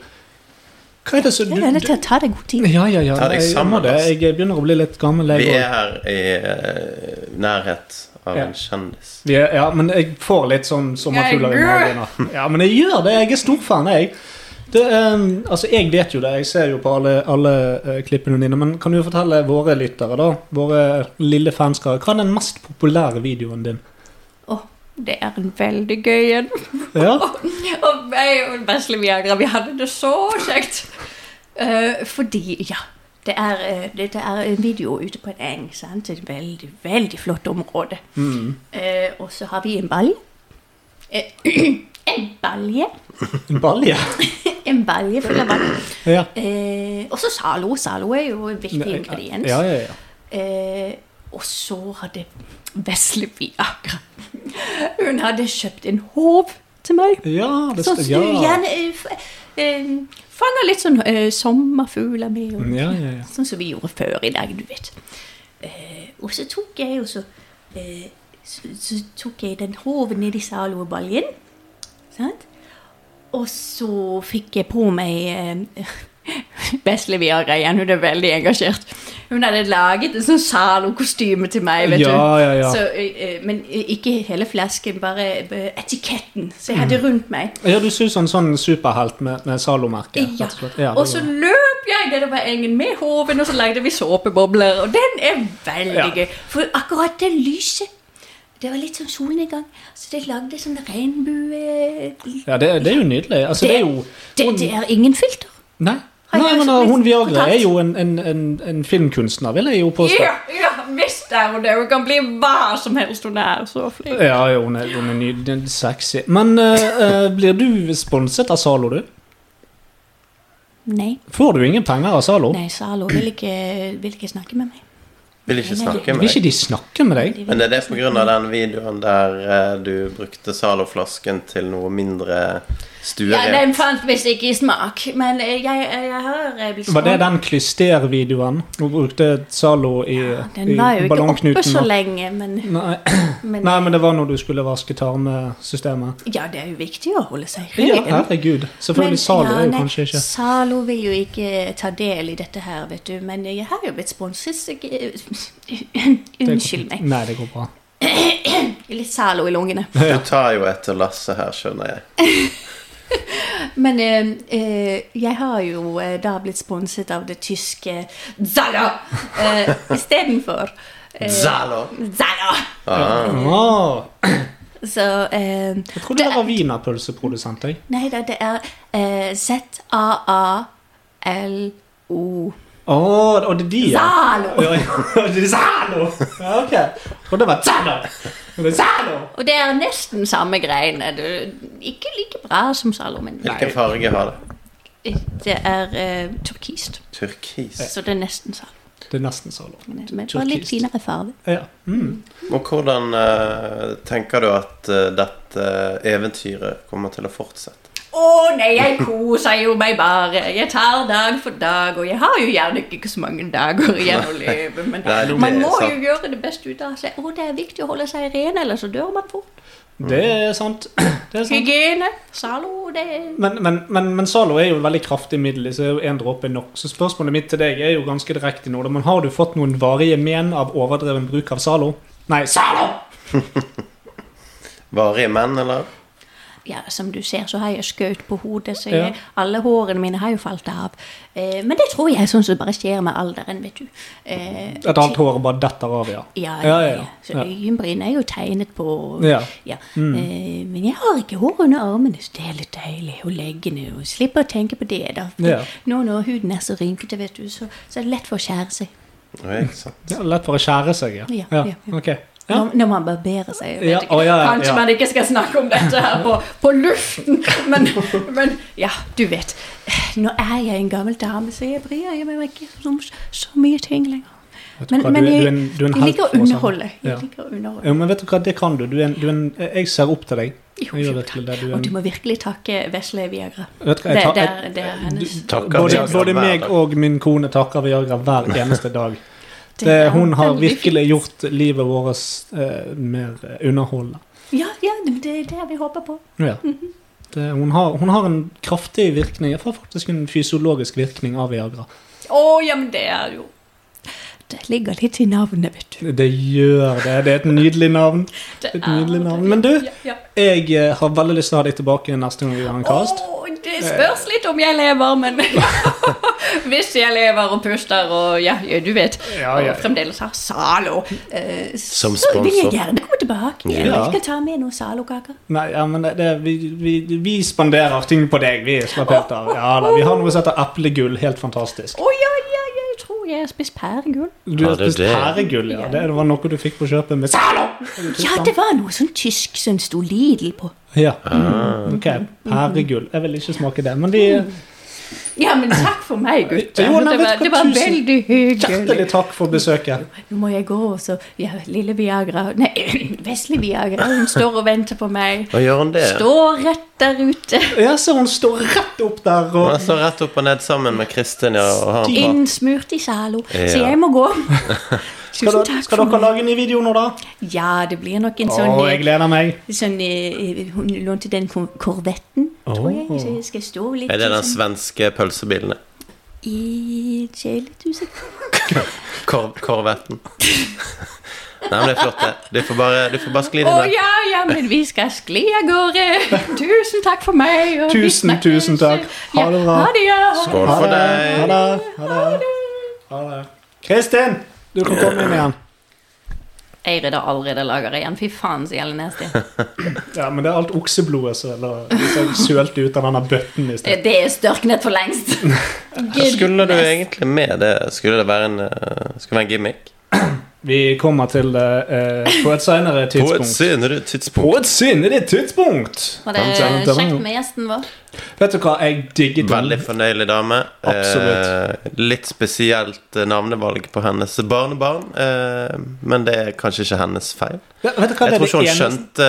S3: Hva er det som
S5: Jeg er nødt til å ta deg god tid.
S3: Ja, ja, ja.
S4: Ta deg
S3: Jeg, jeg,
S4: sammen,
S3: må det.
S4: altså.
S3: jeg begynner å bli litt gammel. Jeg,
S4: Vi er
S3: også.
S4: her i eh, nærhet av
S3: Ja.
S4: en kjendis.
S3: Vi er, ja, men jeg får litt sånn sommerfugler i magen. nå. Ja, men jeg gjør det. Jeg er stor fan, jeg. Det, eh, altså, Jeg vet jo det, jeg ser jo på alle, alle eh, klippene dine. Men kan du fortelle våre lyttere, da, våre lille fanskare, hva er den mest populære videoen din?
S5: Å, det er en veldig gøy en.
S3: Ja,
S5: Og meg og Vesle Viagra, vi hadde det så kjekt. Eh, fordi, ja det er, eh, det, det er en video ute på en eng. Sant? Et veldig, veldig flott område.
S4: Mm.
S5: Eh, og så har vi en ball. Eh, en balje.
S3: En balje?
S5: En balje full av vann.
S3: Ja.
S5: Eh, og så Zalo. Zalo er jo en viktig ingrediens.
S3: Ja, ja, ja.
S5: Eh, og så hadde Vesle Viagra Hun hadde kjøpt en håv til meg.
S3: ja det
S5: Sånn
S3: skal,
S5: som
S3: ja.
S5: du gjerne eh, f- eh, fanger litt sånn eh, sommerfugler med. Og,
S3: Ja, ja, ja.
S5: Sånn som vi gjorde før i dag, du vet. Eh, og så tok jeg jo så, eh, så, så tok jeg den hoven ned i salobaljen. Sant? Og så fikk jeg på meg eh, Vesle Viagra igjen, hun er veldig engasjert. Hun hadde laget en sånn Zalo-kostyme til meg. vet
S3: Ja,
S5: du.
S3: ja, ja.
S5: Så, eh, eh, men ikke hele flasken, bare eh, etiketten som jeg hadde
S3: Mm.
S5: rundt meg.
S3: Ja, du ser ut som en sånn superhelt med, med Zalo-merke.
S5: Ja.
S3: rett og slett. Ja,
S5: Og så løp jeg nedover engen med hoven, og så lagde vi såpebobler. Og den er veldig
S3: Ja.
S5: gøy. For akkurat det lyset Det var litt som solnedgang, så det lagde sånn regnbue...
S3: ja det, det er jo nydelig. Altså, det er jo
S5: Det, det er ingen filter.
S3: Nei.
S5: Har jeg
S3: Nei, men
S5: også
S3: uh,
S5: blitt
S3: Hun Viagra
S5: fortalt?
S3: er jo en, en, en, en filmkunstner, vil jeg jo påstå.
S5: Ja, ja, visst er hun det. Hun kan bli hva som helst hun er. Så flink.
S3: Ja, jo, hun er, hun er nydelig sexy. Men eh, eh, blir du sponset av Zalo, du?
S5: Nei,
S3: Får du ingen penger av Zalo?
S5: nei, Zalo vil ikke, vil ikke snakke med meg.
S4: Vil ikke snakke
S3: Vil
S4: med
S3: ikke
S4: deg.
S3: de snakke med deg?
S4: Men det er det på grunn av den videoen der eh, du brukte Zalo-flasken til noe mindre
S5: Ja,
S4: stuerent.
S5: Den fant visst ikke i smak, men eh, jeg, jeg har eh, blitt
S3: Var det
S5: skånet.
S3: den klyster-videoen? Hun brukte Zalo i,
S5: Den
S3: i
S5: var jo ikke oppe så
S3: og-
S5: lenge, men,
S3: Nei,
S5: men
S3: nei, men det var når du skulle vaske tarmesystemet.
S5: Ja, det er jo viktig å holde seg
S3: Ja,
S5: ren.
S3: herregud.
S5: Men-
S3: Selvfølgelig. Zalo
S5: ja,
S3: er jo
S5: nei,
S3: kanskje ikke
S5: Zalo vil jo ikke ta del i dette her, vet du. Men jeg har jo blitt sponset. så jeg- Unnskyld meg.
S3: Nei, det går bra.
S5: Litt Zalo i lungene.
S4: Du tar jo etter Lasse her, skjønner jeg.
S5: Men eh, eh, jeg har jo eh, da blitt sponset av det tyske Zalo eh, istedenfor. Eh,
S4: Zalo!
S5: Zalo!
S4: Ah,
S3: Åh,
S5: Så eh,
S3: jeg trodde det var wienerpølseprodusent, jeg.
S5: Nei da, det er eh, Z-A-A-L-O.
S3: Å, og det er de, ja.
S5: Zalo!
S3: Ja, ja, det er Zalo! Ja, ok. Og det var Zalo! Og det er Zalo!
S5: Og det er nesten samme greiene. Det- Ikke like bra som Zalo, men
S4: hvilken farge har det?
S5: det er eh, turkist.
S4: Turkis.
S5: Så det er nesten Zalo.
S3: Det er nesten Zalo.
S5: Men det var litt
S3: Turkist.
S5: finere farge.
S3: Ja. Mm.
S4: Og hvordan eh, tenker du at eh, dette eventyret kommer til å fortsette?
S5: Å nei, jeg koser jo meg bare. Jeg tar dag for dag, og jeg har jo gjerne ikke så mange dager igjen å leve, men
S4: Nei, det
S5: man
S4: er
S5: må jo
S4: sant.
S5: gjøre det beste ut av seg. Og det er viktig å holde seg ren, ellers så dør man fort.
S3: Det er sant. Det er sant.
S5: Hygiene, Zalo, det er
S3: Men, men, men, men Zalo er jo et veldig kraftig middel, så er jo én dråpe nok. Så spørsmålet mitt til deg er jo ganske direkte nå. da, Men har du fått noen varige men av overdreven bruk av Zalo? Nei, Zalo!
S4: Varige menn, eller?
S5: ja, som du ser, så har jeg skaut på hodet, så
S3: Ja.
S5: jeg, alle hårene mine har jo falt av. Eh, men det tror jeg er sånn som bare skjer med alderen, vet du. Eh,
S3: Et halvt hår bare detter av, ja.
S5: ja,
S3: Ja,
S5: ja,
S3: ja,
S5: ja. Så
S3: ja.
S5: øyenbryn er jo tegnet på
S3: Ja. Mm.
S5: Eh, Men jeg har ikke hår under armene, så det er litt deilig å legge ned og slippe å tenke på det. da. For
S3: Ja.
S5: Nå når huden er så rynkete, vet du, så, så er det lett for å skjære seg.
S4: Ja, ikke sant?
S3: Ja, Lett for å skjære seg, ja.
S5: Ja, ja, ja.
S3: Ok. Ja.
S5: Når, når man barberer seg. jeg vet
S3: Ja,
S5: ikke.
S3: å, ja, ja,
S5: Kanskje
S3: ja.
S5: man ikke skal snakke om dette her på, på luften, men, men ja, du vet. Nå er jeg en gammel dame, så jeg bryr jeg meg ikke om så, så mye ting lenger.
S3: du hva, du er- du er en- du er en
S5: jeg
S3: helt
S5: liker å
S3: for oss andre.
S5: underholde.
S3: Ja.
S5: Jeg liker å underholde.
S3: Jo, men vet du hva, det kan du. du, er en, du er en, jeg ser opp til deg.
S5: Jo,
S3: Jeg
S5: jo,
S3: gjør det til deg. Du er
S5: Og du
S3: en,
S5: må virkelig takke Vesle Viagra.
S3: vet du
S5: det,
S3: hva, jeg
S5: det,
S3: tar,
S5: er, det er hennes
S4: Takker
S3: både,
S4: Viagra
S3: både
S4: hver
S3: meg
S4: dag.
S3: og min kone takker Viagra hver eneste dag.
S5: Det
S3: Det,
S5: er
S3: hun har
S5: veldig
S3: virkelig
S5: fint.
S3: gjort livet vårt eh, mer eh, underholdende.
S5: Ja, ja, det det er det vi håper på.
S3: Ja.
S5: Mhm.
S3: Det, hun, har, hun har en kraftig virkning. Jeg får faktisk en fysiologisk virkning av Viagra.
S5: Å, ja, men det er jo Det ligger litt i navnet, vet du.
S3: Det gjør det. Det er et nydelig navn.
S5: Det
S3: Et
S5: er
S3: nydelig
S5: det.
S3: navn. Men du,
S5: Ja, ja.
S3: jeg eh, har veldig lyst til å ha deg tilbake neste gang vi har en cast.
S5: Å, det spørs litt om jeg lever, men Hvis jeg lever og puster og ja, ja, du vet.
S3: Ja, ja.
S5: Og fremdeles har Zalo. eh,
S4: Som
S5: så vil jeg
S4: sponsor.
S5: gjerne komme tilbake. Jeg
S3: Ja.
S5: skal ta med noen Zalo-kaker.
S3: Nei, ja, men det, det, vi, vi, vi spanderer ting på deg. Vi slapp helt av. Ja da, Vi har noe som heter eplegull. Helt fantastisk.
S5: Å ja, ja, jeg tror jeg har spist pæregull.
S3: Du
S4: Ja,
S3: har
S4: det er
S3: spist
S4: det.
S3: pæregull, ja. Det var noe du fikk på kjøpet med
S5: Ja, det var noe sånn tysk som sto Lidl på.
S3: Ja.
S4: Ah.
S3: Ok, pæregull. Jeg vil ikke smake det, men de
S5: Ja, men takk for meg, gutter.
S3: Jo, nei,
S5: det, var,
S3: vet du hva,
S5: det var
S3: tusen-
S5: veldig hyggelig.
S3: Hjertelig takk for besøket.
S5: Nå må jeg gå, og så ja, Lille Viagra Nei, Vesle Viagra, hun står og venter på meg.
S4: Og gjør hun det?
S5: Står rett der ute.
S3: Ja, så hun står rett opp der
S4: Han
S3: og
S4: står rett opp og ned sammen med Kristin ja, og har en
S5: Innsmurt i Zalo. Så
S4: Ja.
S5: jeg må gå.
S3: Skal,
S5: Tusen
S3: dere-
S5: takk
S3: skal
S5: for meg.
S3: dere lage en ny video nå, da?
S5: Ja, det blir nok en
S3: Å,
S5: sånn,
S3: jeg gleder meg.
S5: sånn eh, Hun lånte den kor- korvetten, tror jeg. Så jeg skal stå litt
S4: Er det den
S5: sånn
S4: svenske pølsebilen?
S5: i kjæletusen.
S4: Korv, korvetten. Nei, men det er flott, det. Du får bare, du får bare skli
S5: Å
S4: det ned.
S5: ja, ja, men vi skal skli av gårde. Tusen takk for meg. og vi
S3: Tusen,
S5: snakkes.
S3: tusen takk. Ha det bra.
S5: Ja, ha det, ja. Ha det.
S4: Skål for
S3: Ha
S4: deg.
S3: det. Ha det. Ha det. Kristin, du kan komme inn igjen.
S5: Eirid har allerede laget igjen. Fy faen, så gjelder nasty.
S3: Ja, men det er alt okseblodet som eller som sølte ut av denne bøtten i
S5: Det
S3: sted.
S5: det er størknet for lengst. Gud.
S4: Skulle du egentlig med det? Skulle det være en, eh, skulle det være en gimmick?
S3: Vi kommer til det eh, på et senere
S4: På et
S3: tidspunkt.
S4: senere
S3: På
S4: tidspunkt.
S3: et senere tidspunkt!
S5: Var det kjekt med gjesten vår?
S3: Vet du hva, jeg digget den.
S4: Veldig fornøyelig dame.
S3: Absolutt.
S4: Eh, litt spesielt eh, navnevalg på hennes barnebarn, eh, men det er kanskje ikke hennes feil.
S3: Ja, Vet du hva,
S4: Jeg
S3: det
S4: tror
S3: er det
S4: ikke hun
S3: eneste
S4: skjønte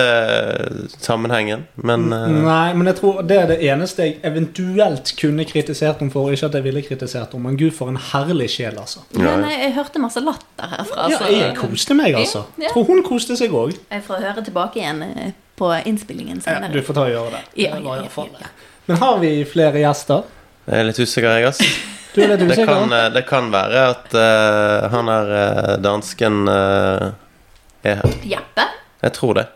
S4: eh, sammenhengen, men eh,
S3: Nei, men jeg tror det er det eneste jeg eventuelt kunne kritisert henne for. Ikke at jeg ville kritisert henne, men gud, for en herlig sjel, altså.
S5: Nei, nei, jeg hørte masse latter herfra.
S3: Ja,
S5: så-
S3: jeg koste meg, altså.
S5: Ja, ja.
S3: Tror hun koste seg òg.
S5: Jeg får høre tilbake igjen eh, på innspillingen
S3: Ja, du
S5: senere.
S3: får ta og gjøre det.
S5: Ja,
S3: Det var
S5: ja,
S3: i hvert fall
S5: ja,
S3: det. Men har vi flere gjester?
S4: jeg er litt usikker, jeg, ass.
S3: Du er litt
S4: Det kan,
S3: usikker?
S4: eh, det kan være at eh, han er eh, dansken eh, er her.
S5: Jeppe?
S4: Jeg tror det.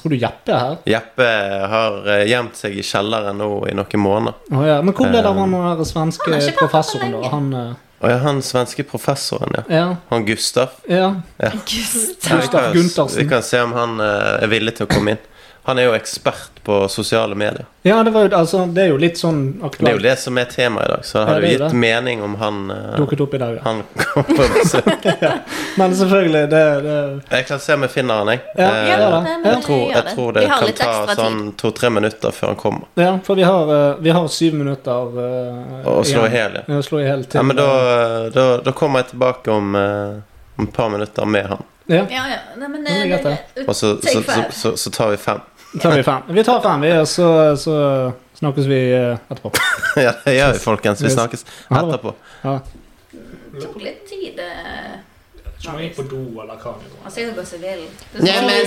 S3: Tror du Jeppe er her?
S4: Jeppe har eh, gjemt seg i kjelleren nå i noen måneder.
S3: Å, ja. Men hvor ble det av
S4: Eh,
S3: han der
S5: Han har
S3: svenske
S5: ikke vært her på
S3: professoren, da?
S5: lenge.
S3: Han eh,
S4: Og ja, han svenske professoren, ja.
S3: Ja.
S4: Han Gustav.
S3: ja.
S5: Gustav.
S4: Ja, vi
S3: Gustav
S4: kan-
S3: Guntersen.
S4: Vi kan se om han eh, er villig til å komme inn. Han er jo ekspert på sosiale medier.
S3: Ja, det, var, jo- altså, det er jo litt sånn
S4: Det er jo
S3: aktuelt
S4: det som er temaet i dag, så det
S3: Ja,
S4: hadde
S3: det
S4: jo
S3: er
S4: gitt
S3: det.
S4: mening om han eh,
S3: dukket opp i dag. Ja.
S4: Han kom på besøk.
S3: Men selvfølgelig, det, det
S4: Jeg kan se om jeg finner han, jeg.
S3: Ja,
S4: Eh,
S5: Ja,
S3: da.
S5: nei, men
S3: Jeg
S5: vi
S4: Jeg tror,
S5: gjør
S4: jeg tror det
S5: Vi har
S4: kan
S5: litt
S4: ta
S5: ekstra tid.
S4: sånn to-tre minutter før han kommer.
S3: Ja, for vi har, eh, vi har syv minutter eh,
S4: Og slå i
S3: igjen.
S4: hjel, ja.
S3: Ja, slå i hjel til.
S4: Ja, men da, da, da kommer jeg tilbake om, eh, om et par minutter med han.
S3: Ja,
S5: Ja, ja. Nei, men
S3: Ja, det er
S5: eh,
S3: greit,
S5: det-
S4: Og så, så,
S5: Take
S4: så,
S5: five.
S4: så, så tar vi fem.
S3: eh, tar vi fem. Vi tar fem, vi, og så, så snakkes vi eh, etterpå.
S4: ja, det gjør vi, folkens. Vi snakkes
S3: Ha det.
S4: etterpå.
S5: det tok litt tid. eh,
S3: på do, eller hva?
S5: Han sier jo gå seg vill.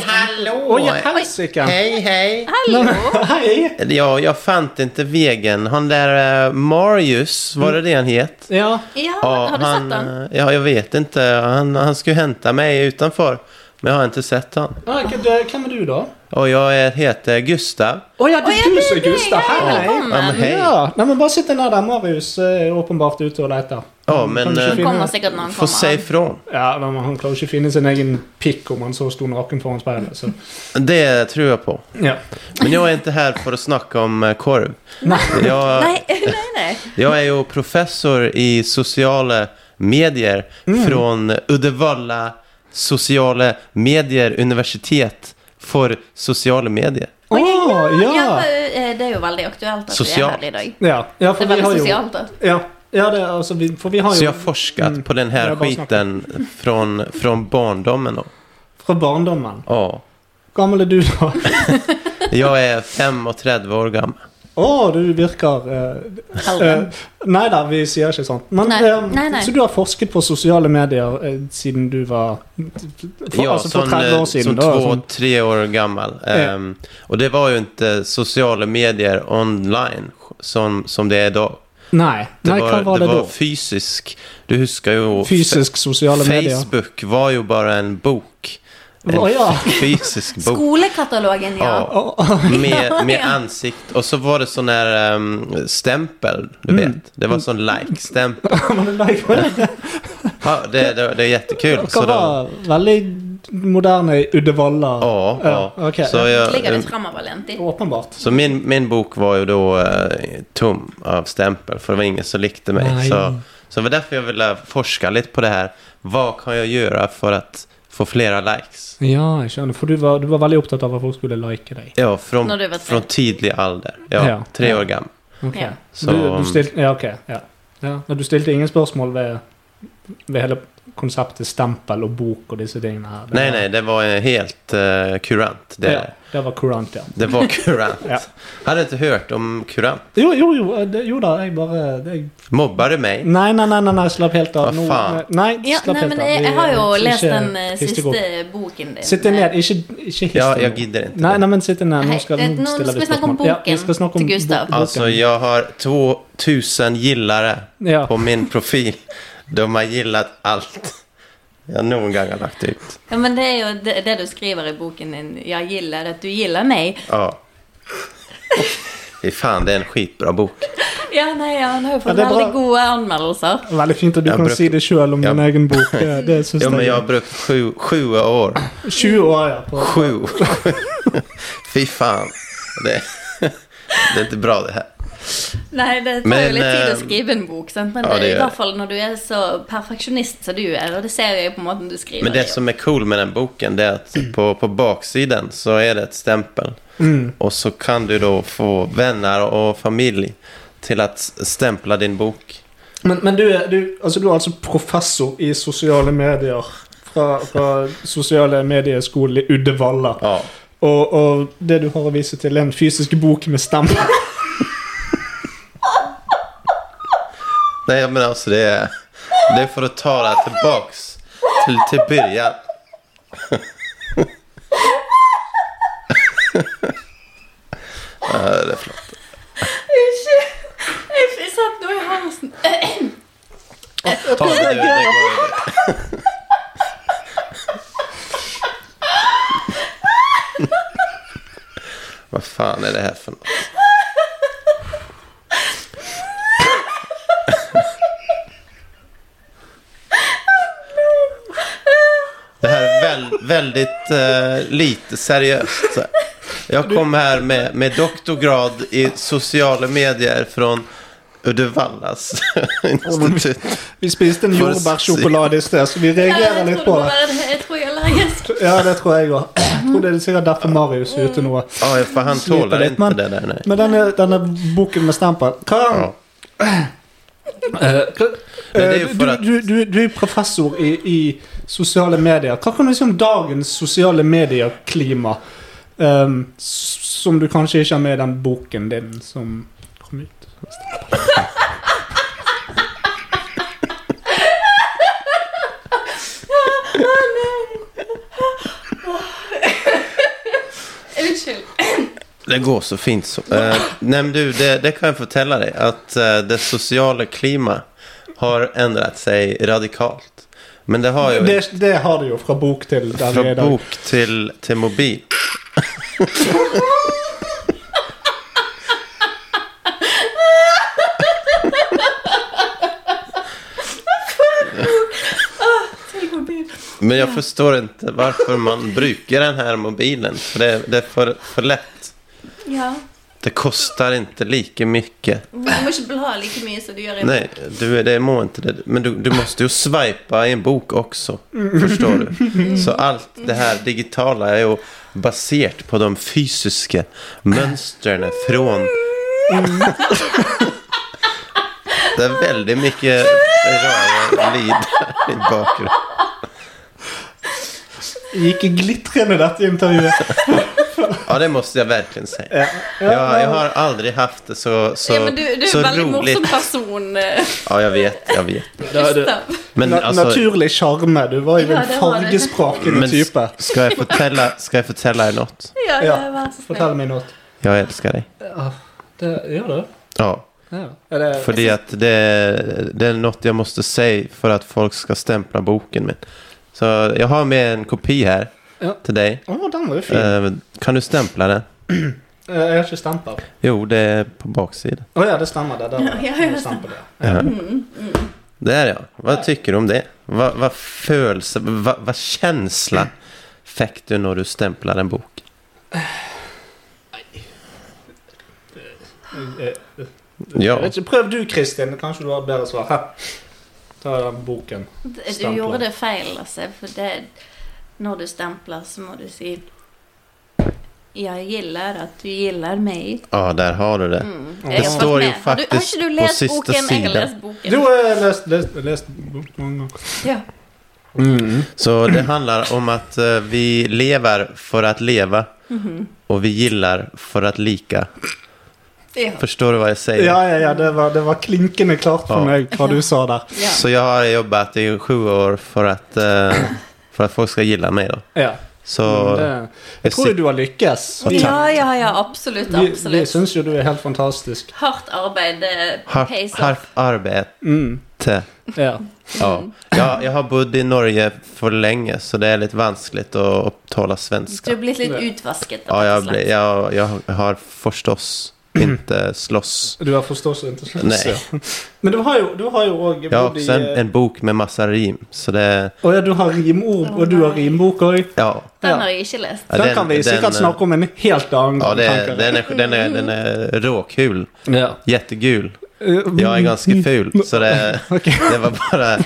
S4: hallo!
S3: Å, ja, helsike!
S4: Hei, hei.
S5: Hallo!
S3: Hei!
S4: Ja, jag fant inte vägen. Han där eh, Marius, var det
S3: Mm.
S4: det han het?
S3: Ja,
S5: Ja,
S4: Ja,
S5: har du sett
S4: han,
S5: den?
S4: eh, Ja, jag vet inte. Han, han skulle hämta mig utanför. Men jag har inte sett han.
S3: Nei, hva- det- hvem er du, da?
S4: Och jag är- heter Gustav.
S3: Å ja, det
S5: Å, ja,
S3: er du
S5: det
S3: som
S5: er
S3: er
S5: det,
S3: Gustav!
S5: ja,
S3: Hei!
S4: Ja, men hei.
S3: Ja, Nei, men bare sitt den der der. Marius eh, er åpenbart ute og leter.
S4: Ja,
S3: Kan
S4: men
S3: du ikke
S4: eh,
S3: finne-
S6: Kommer sikkert når han
S4: få si
S6: kommer.
S4: ifrån.
S3: Ja, men Han klarer ikke å finne sin egen pikk om han så sto naken foran speilet. Så.
S4: Det tror jag på.
S3: Ja.
S4: Men jag är inte här för att snacka om eh, korv.
S3: Nei.
S4: Jag,
S5: Nei, nei, nei.
S4: jag är ju professor i sociala medier
S3: Mm.
S4: från Uddevalla sociala medier universitet för sociala medier.
S3: Å,
S5: Ja,
S3: ja!
S5: eh, det er jo veldig aktuelt at vi er
S4: Sosialt.
S5: her i dag.
S3: Ja, ja
S5: Det
S3: for
S5: er
S3: vi
S5: veldig
S3: har jo
S5: sosialt. da.
S3: Ja, ja det, er altså, vi, for vi har
S4: Så
S3: jo
S4: jag har forskat på den
S3: Det
S4: här
S3: är bara att
S4: skiten från, från barndomen. då.
S3: fra barndommen.
S4: Ja.
S3: Gammel er du, da?
S4: Jag är 35 år gammal.
S3: Å, du virker eh,
S5: Alderen.
S3: eh, Nei da, vi sier ikke sånt. Men,
S5: Nei,
S3: eh,
S5: nei, nei.
S3: Så du har forsket på sosiale medier eh, siden du var for,
S4: Ja,
S3: Altså for
S4: sånn,
S3: 30 år
S4: eh,
S3: siden?
S4: sånn
S3: da,
S4: två,
S3: sånn.
S4: tre år gammal. Ehm, och det var ju inte sociala medier online som, som det är idag.
S3: Nei,
S4: Det
S3: nei, hva var det,
S4: var
S3: da?
S4: fysisk. Du husker ju...
S3: Fysisk sosiale medier?
S4: Facebook var ju bara en bok. En
S3: Å, ja.
S4: fysisk bok.
S5: Skolekatalogen, ja.
S4: Ja. med, med ansikt och så var det sån här ehm, stämpel, du
S3: Mm.
S4: vet. Det var sån like-stämpel.
S3: Var det like- var det-
S4: Ja, det, det, det är jättekul.
S3: Hva
S4: Så då,
S3: var veldig moderne i Uddevalla?
S4: ja, ja.
S3: Ja, okej.
S4: Så, jag,
S6: Ligger litt framoverlent
S5: Oh,
S6: i.
S3: Åpenbart.
S4: så min, min bok var ju då eh, tom av stämpel för det var ingen som likte mig.
S3: Nej.
S4: Så, så det var därför jag ville forska lite på det här. Vad kan jag göra för att få flera likes?
S3: Ja, jeg skjønner. For du var, du var veldig opptatt av at folk skulle like deg.
S4: Ja,
S6: När du
S4: från,
S6: var tre.
S4: från tidlig alder. Ja,
S3: Ja.
S4: tre år gammal.
S3: Ok.
S6: Ja.
S4: Så- um,
S3: du, du stilte, ja, ok. Ja. Ja. Men du stilte ingen spørsmål ved, ved hele konseptet stempel og bok og disse tingene her? Det
S4: Nej,
S3: var-
S4: nej, det var eh, helt eh, kurant. Det,
S3: Ja, det var kurant, ja.
S4: Det var kurant.
S3: Ja.
S4: Hade inte hört om kurant.
S3: Jo, jo, jo, eh, det, jo da, jeg bare det, jeg,
S4: Mobbade mig.
S3: Nei, nei, nei, nei, nei, slapp helt av.
S4: Hva
S3: Nå,
S4: faen?
S3: nei,
S5: Ja,
S3: slapp
S5: nei,
S3: helt
S5: men
S3: av.
S5: jeg,
S3: Vi-
S5: jeg har jo
S3: ikke
S5: list den eh,
S3: hystegå.
S5: siste boken din.
S3: Sitt deg ned, ikke, ikke hist
S4: Ja,
S3: deg
S4: jag
S3: nå.
S4: gidder inte.
S3: Nei, nei, men sitt deg ned.
S5: Nei,
S3: Nå skal,
S5: eh, nå
S3: stiller
S5: skal vi snakke om
S3: spørsmål. Ja, vi
S5: boken
S3: skal snakke om
S5: til Gustav.
S3: bo-
S4: Alltså,
S3: boken.
S4: jag Altså, har 2000 gillare
S3: Ja.
S4: på min profil. De har gillat allt jag någon gång har lagt ut.
S5: Ja, men det er jo det, det du skriver i boken din. 'Jeg gillar at du gillar meg'.
S4: Ja. Fy fan, det är en skitbra bok.
S5: Ja, nei, ja, han har jo fått
S3: det er bra.
S5: veldig gode anmeldelser.
S3: Veldig fint at du
S4: Jeg
S3: kan
S4: brukte-
S3: si det sjøl om
S4: Ja.
S3: din egen bok. Det, det syns
S4: Ja, men
S3: jeg.
S4: jag har brukt sju, sju år.
S3: 20 år, ja. På.
S4: Sju. Fy fan. Det, det är inte bra det här.
S5: Nei, det tar
S4: Men,
S5: jo litt tid å
S4: eh,
S5: skrive en bok, sant? men
S4: ja, det
S5: i
S4: gjør
S5: hvert
S4: det.
S5: fall når du er så perfeksjonist som du er, og det ser jeg jo på måten du skriver
S4: Men det som är cool med den boken det är att på, på baksidan så är det ett stämpel. Och så kan du då få vänner och familj till att s- stämpla din bok.
S3: Men, men du, er, du, altså, du er altså professor i sosiale medier fra, fra sosiale medieskole i Uddevalla.
S4: Ja.
S3: Og, og det du har å vise til, er en fysisk bok med stempel.
S4: Nej men alltså det är, det är för att ta det här tillbaks till, till början. Ja, det är flott.
S5: Jeg jeg satt nå i halsen.
S4: Ta det, det går över. Vad fan är det här för något? Det här är väl, väldigt eh, lite seriöst. Jag kom här med, med doktorgrad i sociala medier från Uddevallas institut.
S3: Vi spiste en
S4: For
S3: jordbærsjokolade i sted, så vi reagerer
S5: jeg,
S3: litt
S5: tror
S3: på
S5: det må
S3: det.
S5: være det. jeg tror jeg er allergisk.
S3: Ja, det tror jeg òg. Tror det er sikkert derfor Marius er ute nå.
S4: Ah, Ja, för han
S3: Sliter
S4: tålar
S3: litt,
S4: inte
S3: men-
S4: det där. Nej.
S3: Men denne, denne boken med stempel Hva,
S4: Ja. Men det er jo
S3: Eh,
S4: for
S3: du,
S4: at-
S3: du, du, du er professor i, i sosiale medier. Hva kan du si om dagens sosiale medier-klima? ehm, s- som du kanskje ikke har med i den boken din som kom ut.
S5: Unnskyld.
S4: Det går så fint så. Eh, nej, men du, det, det kan jag fortälla dig. Att eh, det sociala klima har ändrat sig radikalt. Men det har ju
S3: Det, det har du jo fra bok til der vi er i
S4: från
S3: dag.
S4: bok till, till mobil.
S5: Tänk vad bil.
S4: Men jag förstår inte varför man brukar den här mobilen. För det, det är för, för lätt.
S5: Ja.
S4: Det kostar inte lika mycket.
S5: Du måste väl ha lika mycket som du gör i
S4: Nej, du, det må inte det. Men du, du måste ju swipa i en bok också. Förstår
S5: Mm.
S4: du? Så allt det här digitala är ju baserat på de fysiska mönstren från...
S5: Mm.
S4: Det är väldigt mycket rara lyd i bakgrunden.
S3: Gikk glitrende dette intervjuet.
S4: Ja, det måste jag verkligen säga. Jag, jag har aldrig haft det så, så,
S5: Ja, men du, du är
S4: så
S5: en veldig morsom
S4: roligt.
S5: person, eh,
S4: Ja, jag vet, jag vet.
S5: Gustav.
S4: Men
S3: Na
S4: alltså,
S3: naturlig sjarme. Du var jo
S5: Ja,
S3: en
S5: det var det.
S3: fargesprakende
S4: men
S3: type.
S4: s- ska jag fortälla, ska jag fortälla er något?
S5: Ja,
S3: Ja,
S5: ja, vær så snill.
S3: Fortell meg noe.
S4: Jag älskar dig.
S3: Ja, det gjør du.
S4: Ja,
S3: Ja. Er det
S4: för det, att det, det är något jag måste säga för att folk ska stämpla boken min. Så jag har med en kopia här
S3: Ja.
S4: till dig.
S3: Å, den var jo fin.
S4: Eh, Kan du stämpla den?
S3: Eh, Jeg har ikke stempel.
S4: Jo, det är på baksidan.
S3: Å ja, det stemmer. Det der.
S5: Ja, ja,
S3: var
S5: ja.
S3: stempel, ja.
S5: Mm.
S4: Där ja. Vad tycker du om det? Vad, vad, födelse, vad, vad känsla fick du när du stämplade en bok?
S3: Eh,
S4: Ja,
S3: Jeg vet ikke, Prøv du, Kristin. Kanskje du har et bedre svar. Her. Ta den boken.
S5: Du
S3: Stempler.
S5: gjorde det feil, altså. For det, når du stempler, så må du si Jeg gilder at du gilder meg. Mm.
S4: ja där Ah, har du det.
S5: Jeg har fått
S4: står
S5: med.
S4: jo
S5: Har du-
S4: faktisk
S5: Har ikke du
S4: på
S5: lest
S4: siste
S5: boken? Jeg har
S4: side.
S5: lest boken.
S3: Du har eh, lest, lest, lest bok mange ganger.
S5: Ja.
S3: Mm.
S4: Så det handlar om att eh, vi lever för att leva
S5: Mhm.
S4: och vi gillar för att lika.
S5: Ja.
S4: Förstår du vad jag säger?
S3: Ja, ja, ja. Det var, det var klinkende klart for
S4: Ja.
S3: meg hva du sa der.
S5: ja.
S4: Så jag har jobbat i sju år för att, eh, för att folk ska gilla mig då.
S3: Ja.
S4: Så
S3: Mm, Det, jeg tror jo du har lykkes. Vi,
S5: ja, ja, ja. Absolutt.
S3: vi, vi
S5: absolutt.
S3: syns jo du er helt fantastisk.
S5: Hardt arbeid det
S4: har,
S5: pays
S4: har
S5: off.
S4: arbete.
S3: Mm. Ja.
S4: Ja. Jag, jag har bott i Norge för länge så det är lite vanskligt att, att tala
S5: Du
S4: svenska.
S5: er blitt litt utvasket.
S4: Ja,
S5: rett
S4: jag,
S5: og slett.
S4: blir- jag, jag har förstås inte slåss.
S3: Du har forståelse og interesse.
S4: Nej.
S3: Men du har jo du har jo òg
S4: Jag har
S3: bodd i
S4: också en, en bok med massa rim. Så det,
S3: Å ja, du har rimord, og du har rimbok òg.
S4: ja.
S5: Den har jeg ikke lest.
S4: Ja,
S3: Da kan vi sikkert
S4: eh,
S3: snakke om en helt annen
S4: Ja,
S3: gang.
S4: det,
S3: tenker jeg.
S4: den, är, den, är, den är råkul.
S3: Ja.
S4: Jättegul.
S3: Eh,
S4: Jag är ganska ful, så det,
S3: Okej.
S4: det var bara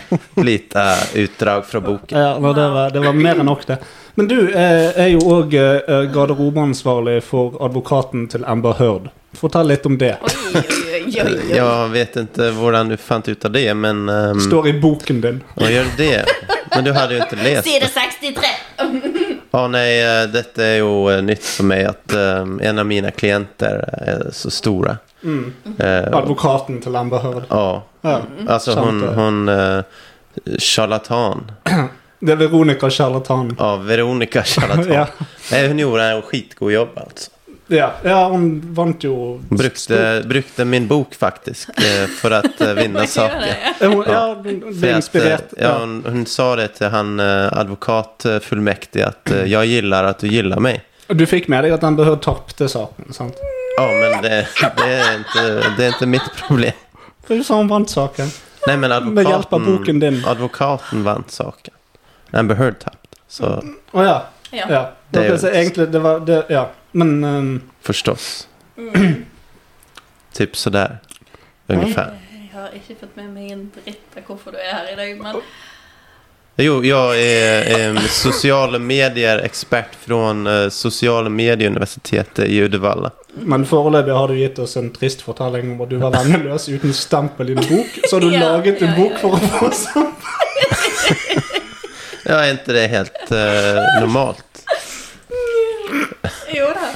S4: lite utdrag från boken.
S3: Ja, men det, var, det var mer enn nok, det. Men du eh, er jo òg eh, garderobeansvarlig for advokaten til Amber Heard. Fortell litt om det.
S5: Oi, oi, oi, oi, oi.
S4: Jag vet inte hur du fann ut av det, men... ehm,
S3: Står i boken din.
S4: vad gör det? Men du hade ju inte läst.
S5: Side 63!
S4: Ja, nej, eh, detta är ju eh, nytt för mig att ehm, en av mina klienter är så stora. Eh,
S3: Advokaten til Amber Heard.
S4: ja,
S3: Ja.
S4: alltså hon,
S3: Sant det.
S4: hon eh, charlatan.
S3: Det er Veronica Charlatan.
S4: Ja, Veronica charlatan.
S3: Ja.
S4: Nej, hon gjorde en skitgod jobb altså. alltså.
S3: Ja. ja, hun vant jo Stor-
S4: Brukte, brukte min bok faktiskt eh, för att eh, vinna saker.
S3: Eh, Hun, ja, hun hun ble
S4: För att, eh,
S3: inspirert.
S4: ja, hon, hon sa det till han eh, advokatfullmäktige att eh, jag gillar att du gillar mig.
S3: Du fikk med deg at Amber Heard tapte saken, sant?
S4: Ja, men det, det, är inte, det är inte mitt problem.
S3: For Du sa hun vant saken.
S4: Nej, men
S3: Med hjälp av boken
S4: advokaten,
S3: din.
S4: advokaten vann saken. Amber Heard tappade. Så
S3: Å ja.
S5: Ja.
S3: ja.
S4: Det
S3: Det
S4: er jo-
S3: så egentlig, det var det, Ja. Men ehm,
S4: förstås. Typ sådär. Ungefär.
S5: Jeg har ikke fått med meg en dritt av hvorfor du er her i dag, men
S4: Jo, jag är eh, social medier-expert från eh, social medieuniversitetet i Uddevalla.
S3: Men foreløpig har du gitt oss en trist fortelling om at du var venneløs uten stempel i en bok. Så har du
S5: Ja,
S3: laget en
S5: ja,
S3: bok
S5: ja,
S3: for å få sånn.
S4: Ja, är inte det helt eh, normalt?
S5: Jo da.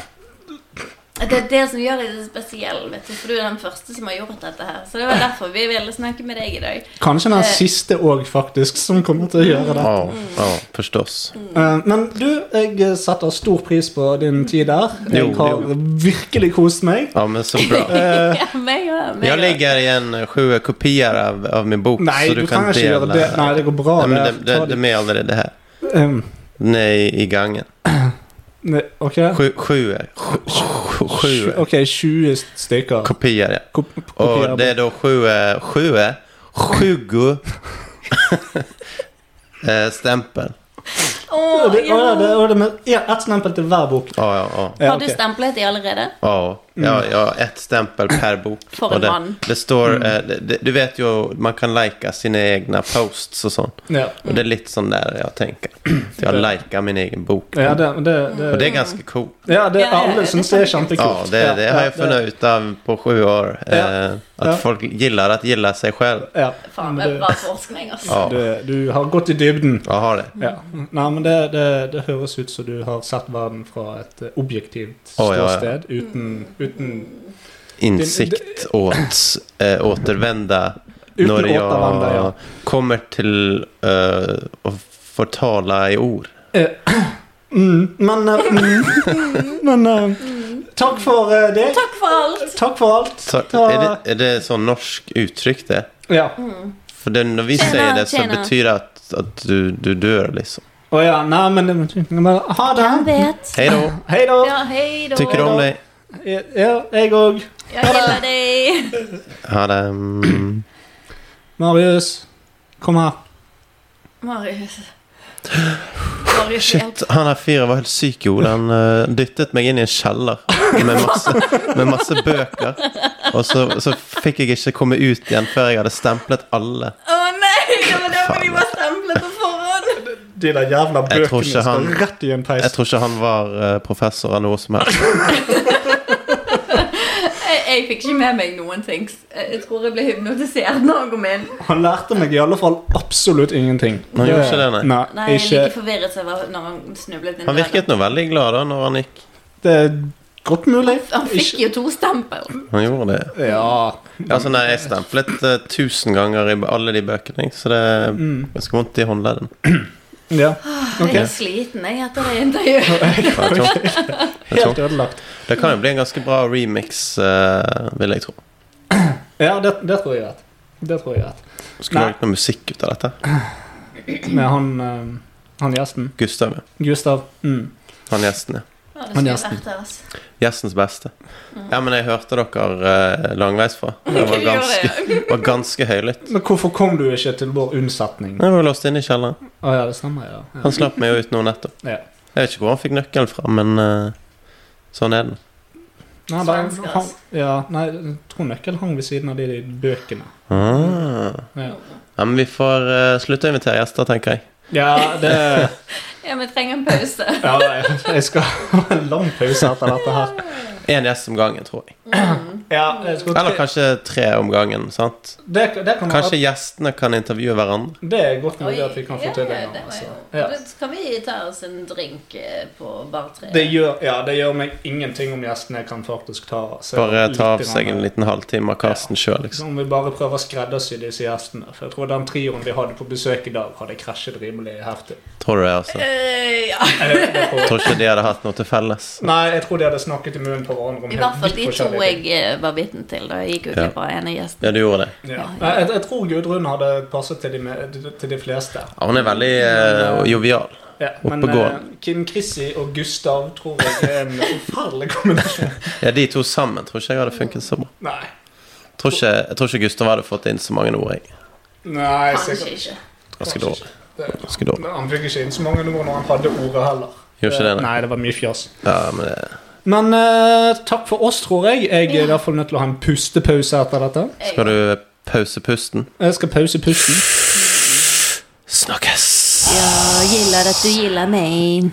S5: Det er det som gjør deg så spesiell, vet du. For du er den første som har gjort dette her. Så det var derfor vi ville snakke med deg i dag.
S3: Kanskje den
S5: Eh.
S3: siste òg, faktisk, som kommer til å gjøre det.
S4: Ja, ja, förstås.
S3: Eh, Men du, jeg eh, setter stor pris på din tid der.
S4: Jo,
S3: Jeg har
S4: jo.
S3: virkelig kost meg.
S4: Ja, men så bra.
S3: Eh.
S5: Ja, meg og meg
S4: Jag
S5: og-
S4: lägger i en sju kopior av, av min bok.
S3: Nei,
S4: så
S3: du
S4: du kan
S3: trenger ikke
S4: dela.
S3: gjøre det. Nei, det går bra.
S4: Nej, men
S3: det.
S4: det, det,
S3: Ta
S4: det
S3: det.
S4: med aldrig det här.
S3: Ehm,
S4: Nej, i gangen.
S3: Ne- Ok?
S4: Sju, sju, är- sju, sju, sju
S3: Sju- Ok, 20 stykker.
S4: kopior. Ja.
S3: Kop
S4: Och det är då sju, eh, sju, eh, sjugo eh, stämpel.
S5: Åh,
S3: Å, det, å, ja,
S5: ja.
S3: det, å, det med ja, ett stempel til hver bok.
S4: Ja, ja, ja.
S3: Ja,
S5: Har du
S3: ok.
S5: stemplet de allerede?
S4: Ja, ja,
S3: Mm.
S4: ja, ett stämpel per bok.
S5: För en
S4: Och det,
S5: man.
S4: det står, eh, det, det- du vet ju, man kan lajka sina egna posts och sånt.
S3: Ja,
S4: Och det är lite sån där jag tänker. Att jag lajkar min egen bok.
S3: Mm. ja, det, det, det,
S4: Och det är ganska coolt.
S3: ja, det
S5: Ja, ja,
S3: alle
S5: det
S3: syns
S5: kan
S3: det er
S5: jeg ikke.
S3: kjempekult.
S4: Ja, det, det har jag funnit ut av på sju år. Eh,
S3: Ja.
S4: Att
S3: Ja.
S4: folk gillar att gilla sig själv.
S3: Ja,
S5: Faen,
S3: men
S5: det er
S3: det,
S5: bra forskning, altså.
S4: Ja,
S3: du, du har gått i dybden.
S4: jag har det.
S3: Ja. Nei, men det, det, det høres ut som du har sett verden fra et eh, objektivt
S4: Å, ja, ja.
S3: ståsted uten, uten,
S4: Insikt åt, eh, återvända
S3: uten
S4: när
S3: återvende. Ja.
S4: jag kommer till eh, att förtala i ord.
S3: Mm, men eh, mm, men eh, takk for eh, det.
S5: Takk for alt!
S3: Takk for alt.
S4: Så,
S3: Ta-
S4: är, det, är det sån norsk uttryck det?
S3: Ja.
S4: För det, när vi
S5: Tjena,
S4: säger det så
S5: tjena.
S4: betyder det att, att du, du dör liksom.
S3: Å ja. Nei, men, eh, men ha
S6: Hvem
S3: det.
S6: vet?
S4: Hej då!
S3: Hei da.
S5: Ja, hei da.
S4: Tycker du om dig?
S3: Ja, jeg òg.
S5: Jeg gilder deg.
S4: Ja, det, mm.
S3: Marius, kom her.
S5: Marius. Marius, hjelp.
S4: Shit, han här fyra var helt psyko. Han eh, dyttet mig in i en källare med massa, med massa böcker. Och så, så fick jag inte komma ut igen förrän jag hade stämplat alla.
S5: Å nei, det var derfor
S4: Faen.
S5: de var stemplet på forhånd.
S3: De der jævla
S4: Jeg
S3: bøkene
S4: tror ikke
S3: skal
S4: han-
S3: rett i en peis.
S4: Jag tror inte han var eh, professor eller något som helst.
S5: Jeg, jeg fikk ikke med meg noen ting. Jeg, jeg tror jeg ble hypnotisert når jeg kom inn.
S3: Han lærte meg i alle fall absolutt ingenting.
S4: Han gjorde ikke det, nei.
S3: nei.
S5: Nei, jeg
S3: ikke.
S5: like forvirret som jeg var når han snublet inn
S4: Han virket nå veldig glad da når han gikk.
S3: Det er godt mulig.
S5: Han fikk
S3: Ikke-
S5: jo to stemper.
S4: Han gjorde det.
S3: Ja.
S4: Altså, nei, jeg stemplet eh, tusen ganger i alle de bøkene, jeg, så det er ganske vondt i håndledden.
S3: Mm. ja. Ok.
S5: Ah, Jeg er sliten jeg etter det intervjuet.
S4: Det er tungt. Det er
S3: Helt
S4: tungt.
S3: ødelagt.
S4: Det kan jo bli en ganske bra remix, eh, vil jeg tro.
S3: Ja, det, det tror jeg vet. Det tror jeg vet.
S4: Skulle
S3: Nei.
S4: lagd noe musikk ut av dette.
S3: Med han, eh, han gjesten.
S4: Gustav, ja.
S3: Gustav. Mm.
S4: han gjesten, ja.
S5: Ja, det
S3: Han
S5: skulle
S3: gjesten.
S5: vært det, altså.
S4: Gjestens beste. Ja, men jeg hørte dere eh, langveisfra. Det var ganske,
S5: Mm. Gjorde jeg.
S4: var ganske høylytt.
S3: Men hvorfor kom du ikke til vår unnsetning? Å
S4: Jeg var låst inne i kjelleren.
S3: ja, det stemmer, ja. ja.
S4: Han slapp meg jo ut nå nettopp.
S3: Ja.
S4: Jeg vet ikke hvor han fikk nøkkelen fra, men eh, sånn er det.
S3: Nei, da,
S5: Svensker,
S3: han,
S5: altså.
S3: ja, nei, jeg tror nøkkelen hang ved siden av de, de bøkene.
S4: Ah.
S3: Ja.
S4: Ja, men vi får eh, slutte å invitere gjester, tenker jeg.
S3: Ja, det
S5: Ja, vi trenger en pause.
S3: Ja, jeg, jeg skal ha en lang pause etter dette her.
S4: Én gjest om gangen, tror jeg.
S3: Ja, jeg skal,
S4: Eller kanskje tre om gangen. sant?
S3: det, det, kan
S4: Kanskje
S3: være,
S4: gjestene kan intervjue hverandre.
S3: det er godt
S5: Oi,
S3: mulig at vi kan få
S5: ja,
S3: til det.
S5: ja,
S3: nå,
S5: det var
S3: Altså.
S5: jo-
S3: Ja.
S5: Men Kan vi ta oss en drink eh, på bar tre?
S3: Det, gjør, ja, det gjør meg ingenting om gjestene kan faktisk ta så
S4: Bare ta av
S3: litt
S4: seg
S3: grann-
S4: en liten halvtime av Karsten sjøl, liksom.
S3: Så om vi bare prøver å skreddersy disse gjestene. For jeg tror den trioen vi hadde på besøk i dag, hadde krasjet rimelig heftig.
S4: Tror du det, altså?
S5: Eh, ja.
S3: Jeg, jeg tror,
S4: Tror ikke de hadde hatt noe til felles.
S3: nei, jeg tror de hadde snakket i munnen på hverandre om
S5: I hvert fall
S3: vidt
S5: de to
S3: forskjellige
S5: jeg
S3: ting.
S5: eh, var vitne til da jeg gikk ut
S4: Ja.
S5: fra ene gjesten.
S4: Ja, du gjorde det.
S3: Ja. Nei, Jeg, jeg tror Gudrun hadde passet til de, me- til de fleste.
S4: Ja, hun er veldig eh, jovial.
S3: Ja, men
S4: Oppegående.
S3: eh, Kim Chrissy og Gustav tror jeg er en forferdelig kombinasjon.
S4: Ja, De to sammen tror ikke jeg hadde funket så bra.
S3: Nei.
S4: Tror ikke, jeg tror ikke Gustav hadde fått inn så mange ord, jeg.
S3: Nei,
S5: Kanskje
S3: sikkert.
S5: ikke.
S4: Ganske dårlig.
S3: Det-
S4: Ganske dårlig.
S3: Han fikk ikke inn så mange ord når han hadde ordet heller.
S4: Gjør ikke det, nei.
S3: Nei, det var mye fjas.
S4: Ja, men det
S3: Men eh, takk for oss, tror jeg. Jeg er i hvert fall nødt til å ha en pustepause etter dette.
S4: Skal du pause pusten?
S3: Jeg skal pause pusten.
S4: Snakkes!
S5: Ja, gillar at du gillar meg.